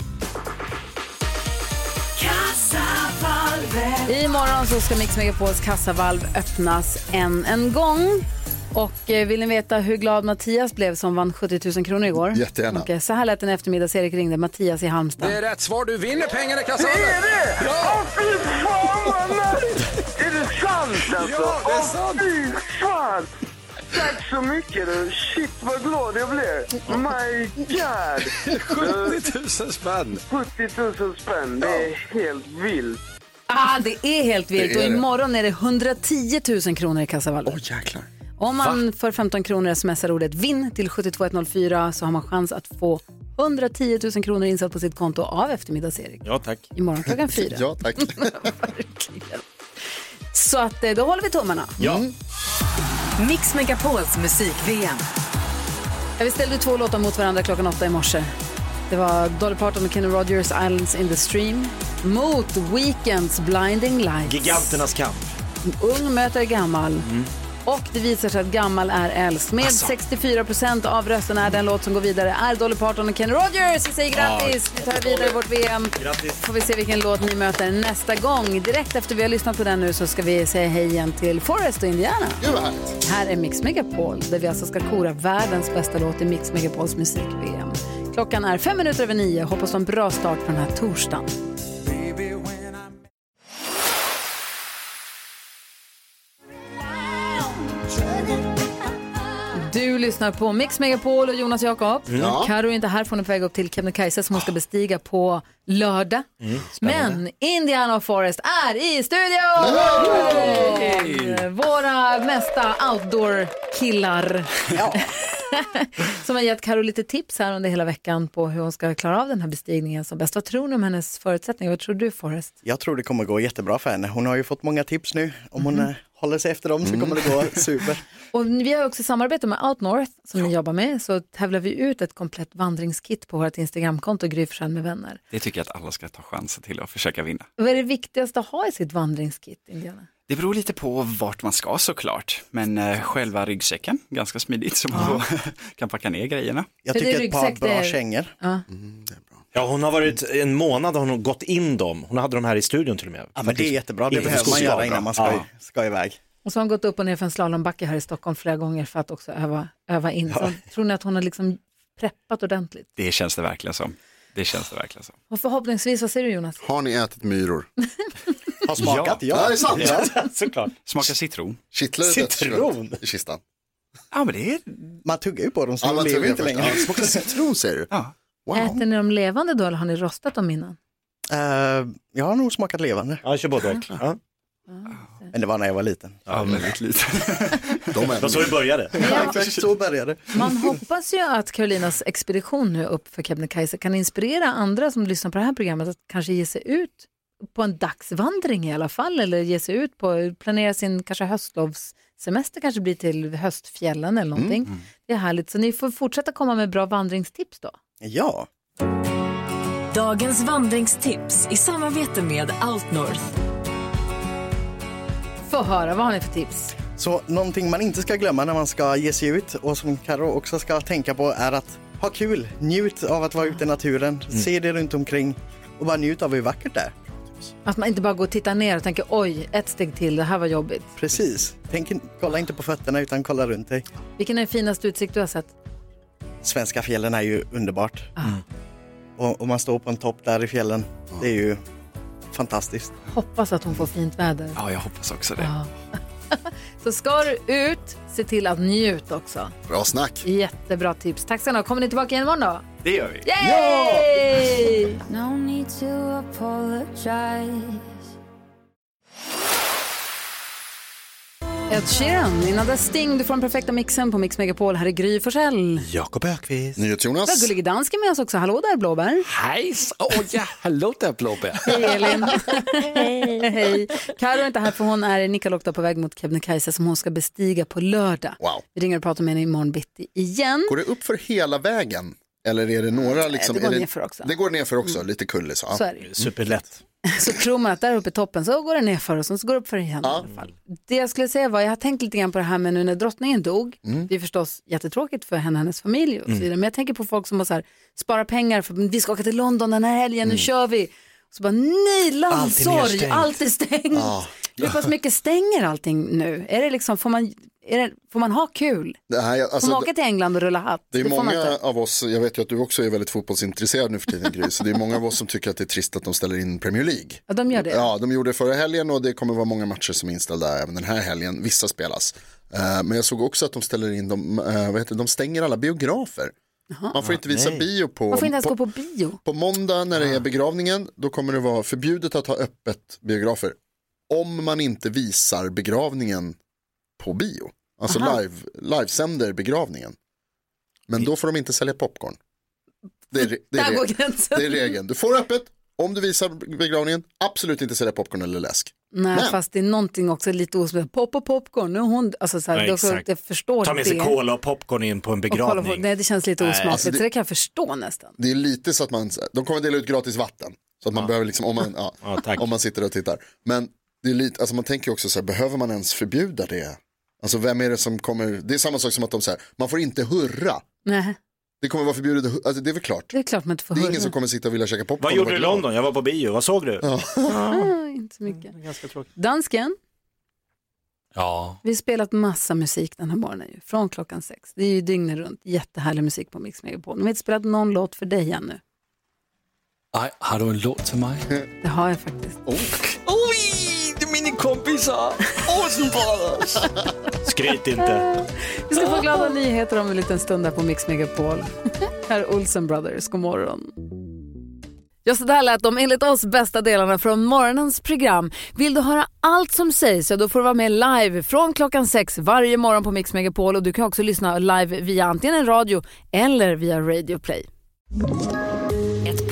A: Imorgon så ska Mix Megapols kassavalv öppnas än en gång. Och eh, vill ni veta hur glad Mattias blev som vann 70 000 kronor igår?
C: Jättegärna.
A: Okej, så här lät en eftermiddags-Erik ringde Mattias i Halmstad.
J: Det är rätt svar. Du vinner pengarna i kassan.
H: Det är det?
J: Ja!
H: Fy fan vad nice! Är det sant alltså?
J: Ja, det är
H: sant! Fy fan! Tack så mycket du! Shit vad glad jag blev! My God!
J: 70 000 spänn.
H: 70 000 spänn, det är helt vilt.
A: Ah, det är helt vilt.
H: Det är
A: och
H: det.
A: imorgon är det 110 000 kronor i kassavalvet.
C: Åh jäklar.
A: Om man för 15 kronor smsar ordet vinn till 72104 så har man chans att få 110 000 kronor insatt på sitt konto av eftermiddags-Erik.
D: Ja, tack.
A: Imorgon klockan fyra.
C: Ja, tack.
A: Så att, eh, då håller vi tummarna.
D: Ja.
B: Mix Megapols musik-VM.
A: Ja, Vi ställde två låtar mot varandra klockan åtta i morse. Det var Dolly Parton med Kenny Rogers Islands in the Stream mot Weekends Blinding Lights.
D: Giganternas kamp.
A: Ung möter gammal.
P: Mm.
A: Och det visar sig att gammal är äldst. Med 64 procent av rösterna är den låt som går vidare är Dolly Parton och Kenny Rogers. Vi säger grattis! Vi tar vidare vårt VM.
D: Grattis.
A: Får vi se vilken låt ni möter nästa gång. Direkt efter vi har lyssnat på den nu så ska vi säga hej igen till Forrest och Indiana.
C: Gud vad härligt.
A: Här är Mix Megapol där vi alltså ska kora världens bästa låt i Mix Megapols musik-VM. Klockan är fem minuter över nio. Hoppas på en bra start på den här torsdagen. Du lyssnar på Mix Megapol och Jonas Jakob.
B: Ja.
A: Karo är inte här för hon är på väg upp till Kebnekaise som hon ska bestiga på lördag. Men Indiana och Forest är i studion!
H: Yay!
A: Våra mesta outdoor-killar. som har gett Karo lite tips här under hela veckan på hur hon ska klara av den här bestigningen som bäst. Vad tror ni om hennes förutsättningar? Vad tror du Forrest?
P: Jag tror det kommer gå jättebra för henne. Hon har ju fått många tips nu. Om hon
C: Mhm.
P: eh, håller sig efter dem så kommer det gå
C: Mm.
P: super.
A: Och vi har också samarbete med Outnorth som ni jobbar med så tävlar vi ut ett komplett vandringskit på vårt Instagramkonto Gry Forssell med vänner.
R: Det tycker jag att alla ska ta chansen till och försöka vinna.
A: Vad är det viktigaste att ha i sitt vandringskit, Indiana?
R: Det beror lite på vart man ska såklart, men eh, själva ryggsäcken, ganska smidigt så man kan packa ner grejerna.
P: Jag
A: För det tycker är ett par ryggsäck, det bra är-
P: kängor.
A: Ja.
M: Ja, hon har varit en månad har hon gått in dem. Hon hade dem här i studion till och med.
P: Ja, men det är jättebra, det
M: Inte
P: behöver man göra
M: skogsskador.
P: innan man ska,
M: Ja.
P: ska iväg.
A: Och så har hon gått upp och ner för en slalombacke här i Stockholm flera gånger för att också öva, öva in. Så
R: Ja.
A: tror ni att hon har liksom preppat ordentligt?
R: Det känns det verkligen som. Det känns det verkligen som.
A: Och förhoppningsvis, vad säger du Jonas?
C: Har ni ätit myror?
P: Har
R: smakat, ja.
C: det är sant.
R: Ja,
M: såklart.
R: Smaka citron.
C: Kittlar det
R: Citron?
C: dödskött i kistan?
R: Ja, men det är...
P: Man tuggar ju på dem så
C: Ja,
P: de
C: man
P: lever
C: tuggar
P: inte
C: först.
P: längre.
C: Ja, smakar citron säger du?
R: Ja.
A: Äter ni dem levande då eller har ni rostat dem innan?
P: Eh, jag har nog smakat levande.
M: Ja, jag kör både och.
P: Men det var när jag var liten.
R: Ja, väldigt liten.
C: De
P: är så det började. Ja, exakt så började det.
A: Man hoppas ju att Karolinas expedition nu upp för Kebnekaise kan inspirera andra som lyssnar på det här programmet att kanske ge sig ut på en dagsvandring i alla fall eller ge sig ut på, planera sin kanske höstlovssemester kanske blir till höstfjällen eller någonting.
P: Mm.
A: Det är härligt, så ni får fortsätta komma med bra vandringstips då.
P: Ja.
B: Dagens vandringstips i samarbete med Outnorth.
A: Få höra, vad har ni för tips?
P: Så någonting man inte ska glömma när man ska ge sig ut och som Karo också ska tänka på är att ha kul, njut av att vara ute i naturen,
R: Mm.
P: se det runt omkring och bara njut av hur vackert det är.
A: Att man inte bara går och tittar ner och tänker oj, ett steg till, det här var jobbigt.
P: Precis. Tänk, in- kolla inte på fötterna utan kolla runt dig.
A: Vilken är den finaste utsikt du har sett? Ah,
P: Svenska fjällen är ju underbart.
C: Mm.
P: Och, och man står på en topp där i fjällen. Det är ju fantastiskt.
A: Hoppas att hon får fint väder.
R: Ja, jag hoppas också det.
A: Så ska du ut, se till att njuta också.
C: Bra snack.
A: Jättebra tips. Tack ska ni ha. Kommer ni tillbaka igen imorgon då?
R: Det gör vi.
A: Yay!
S: No need to apologize.
A: Ed Sheeran, innan dess Sting, du får den perfekta mixen på Mix Megapol. Här är Gry Forssell.
M: Jakob Ökvist.
A: Vi har
C: NyhetsJonas.
A: Gullige Dansken med oss också. Hallå där Blåbär.
E: Hejs! Åh ja, hallå där blåbär.
A: Hej Elin. Hej. Hej. Karo är inte här för hon är i Nikkaluokta på väg mot Kebnekaise som hon ska bestiga på lördag.
C: Wow.
A: Vi ringer och pratar med henne imorgon bitti igen.
C: Går det upp för hela vägen? Eller är det några liksom?
A: Mm. det går
C: är det,
A: nerför också. Mm.
C: Det går nerför också, lite kullis. Ja.
A: Så är det ju.
M: Superlätt.
A: Så tror man att där uppe i toppen så går det ner för och sen så går det upp för igen. i alla fall. Det jag skulle säga var, jag har tänkt lite grann på det här med nu när drottningen dog.
C: Mm.
A: Det är förstås jättetråkigt för henne och hennes familj och så
B: Mm.
A: vidare. Men jag tänker på folk som har så här, sparar pengar för vi ska åka till London den här helgen, nu
B: Mm.
A: kör vi. Så bara nej, landsorg,
B: nedstängt.
A: allt är stängt.
C: Ja.
A: Hur pass mycket stänger allting nu? Är det liksom, får man, är det, får man ha kul?
C: Det, här, jag-
A: får man
C: alltså,
A: åka till England och rulla hatt?
C: det är
A: får man inte.
C: många av oss, jag vet ju att du också är väldigt fotbollsintresserad nu för tiden Gry, så det är många av oss som tycker att det är trist att de ställer in Premier League.
A: Ja, de gör det.
C: Ja, de gjorde det förra helgen och det kommer vara många matcher som är inställda även den här helgen. Vissa spelas. Eh, Men jag såg också att de ställer in, de, eh, vad heter, det, de stänger alla biografer.
A: Jaha.
C: Man får inte visa
A: Nej.
C: bio på...
A: Man får inte ens gå på bio.
C: På måndag när
A: Ah.
C: det är begravningen, då kommer det vara förbjudet att ha öppet biografer. Om man inte visar begravningen på bio. Alltså
A: Aha.
C: live, livesänder begravningen. Men då får de inte sälja popcorn. Det är, det,
A: Där
C: är,
A: går
C: reg-
A: gränsen.
C: det är regeln. Du får öppet, om du visar begravningen, absolut inte sälja popcorn eller läsk.
A: Nej,
C: Men-
A: fast det är någonting också lite osmidigt. Pop och popcorn, nu är hon, alltså så här,
D: Ja,
A: det är också,
D: exakt.
A: jag förstår
D: Ta med sig
A: det.
D: cola och popcorn in på en
A: Och kolla på-
D: begravning.
A: nej, det känns lite
D: Nej.
A: osmakligt,
D: Alltså, det-
A: så det kan jag förstå nästan.
C: Det är lite så att man, de kommer dela ut gratis vatten. Så att man behöver liksom, om man, ja, om man sitter och tittar. Men det är lite, alltså man tänker ju också så här, behöver man ens förbjuda det? Alltså vem är det som kommer, det är samma sak som att de säger, man får inte hurra.
A: Nej,
C: Det kommer vara förbjudet, att hu- alltså det är väl klart.
A: det är klart man inte får
C: Det är
A: höra.
C: ingen som kommer sitta och vilja käka popcorn.
D: Vad
C: och
D: gjorde
C: vara
D: du i
C: glad.
D: London? Jag var på bio, vad såg du?
A: Ah, inte så
D: Mm,
A: mycket. Dansken,
E: Ja.
A: vi har spelat massa musik den här morgonen ju, från klockan sex. Det är ju dygnet runt, jättehärlig musik på Mix Megapol. Men vi har inte spelat någon låt för dig ännu.
E: Ej, har du en låt till mig?
A: Det har jag faktiskt.
E: Oj, det är mina kompisar. Olsen Brothers.
D: Skryt inte.
A: Vi ska få glada nyheter om en liten stund här på Mix Megapol. Här är Olsen Brothers, god morgon. Ja, så där lät de enligt oss bästa delarna från morgonens program. Vill du höra allt som sägs, ja, då får du vara med live från klockan sex varje morgon på Mix Megapol. Och du kan också lyssna live via antingen en radio eller via Radio Play.
K: Ett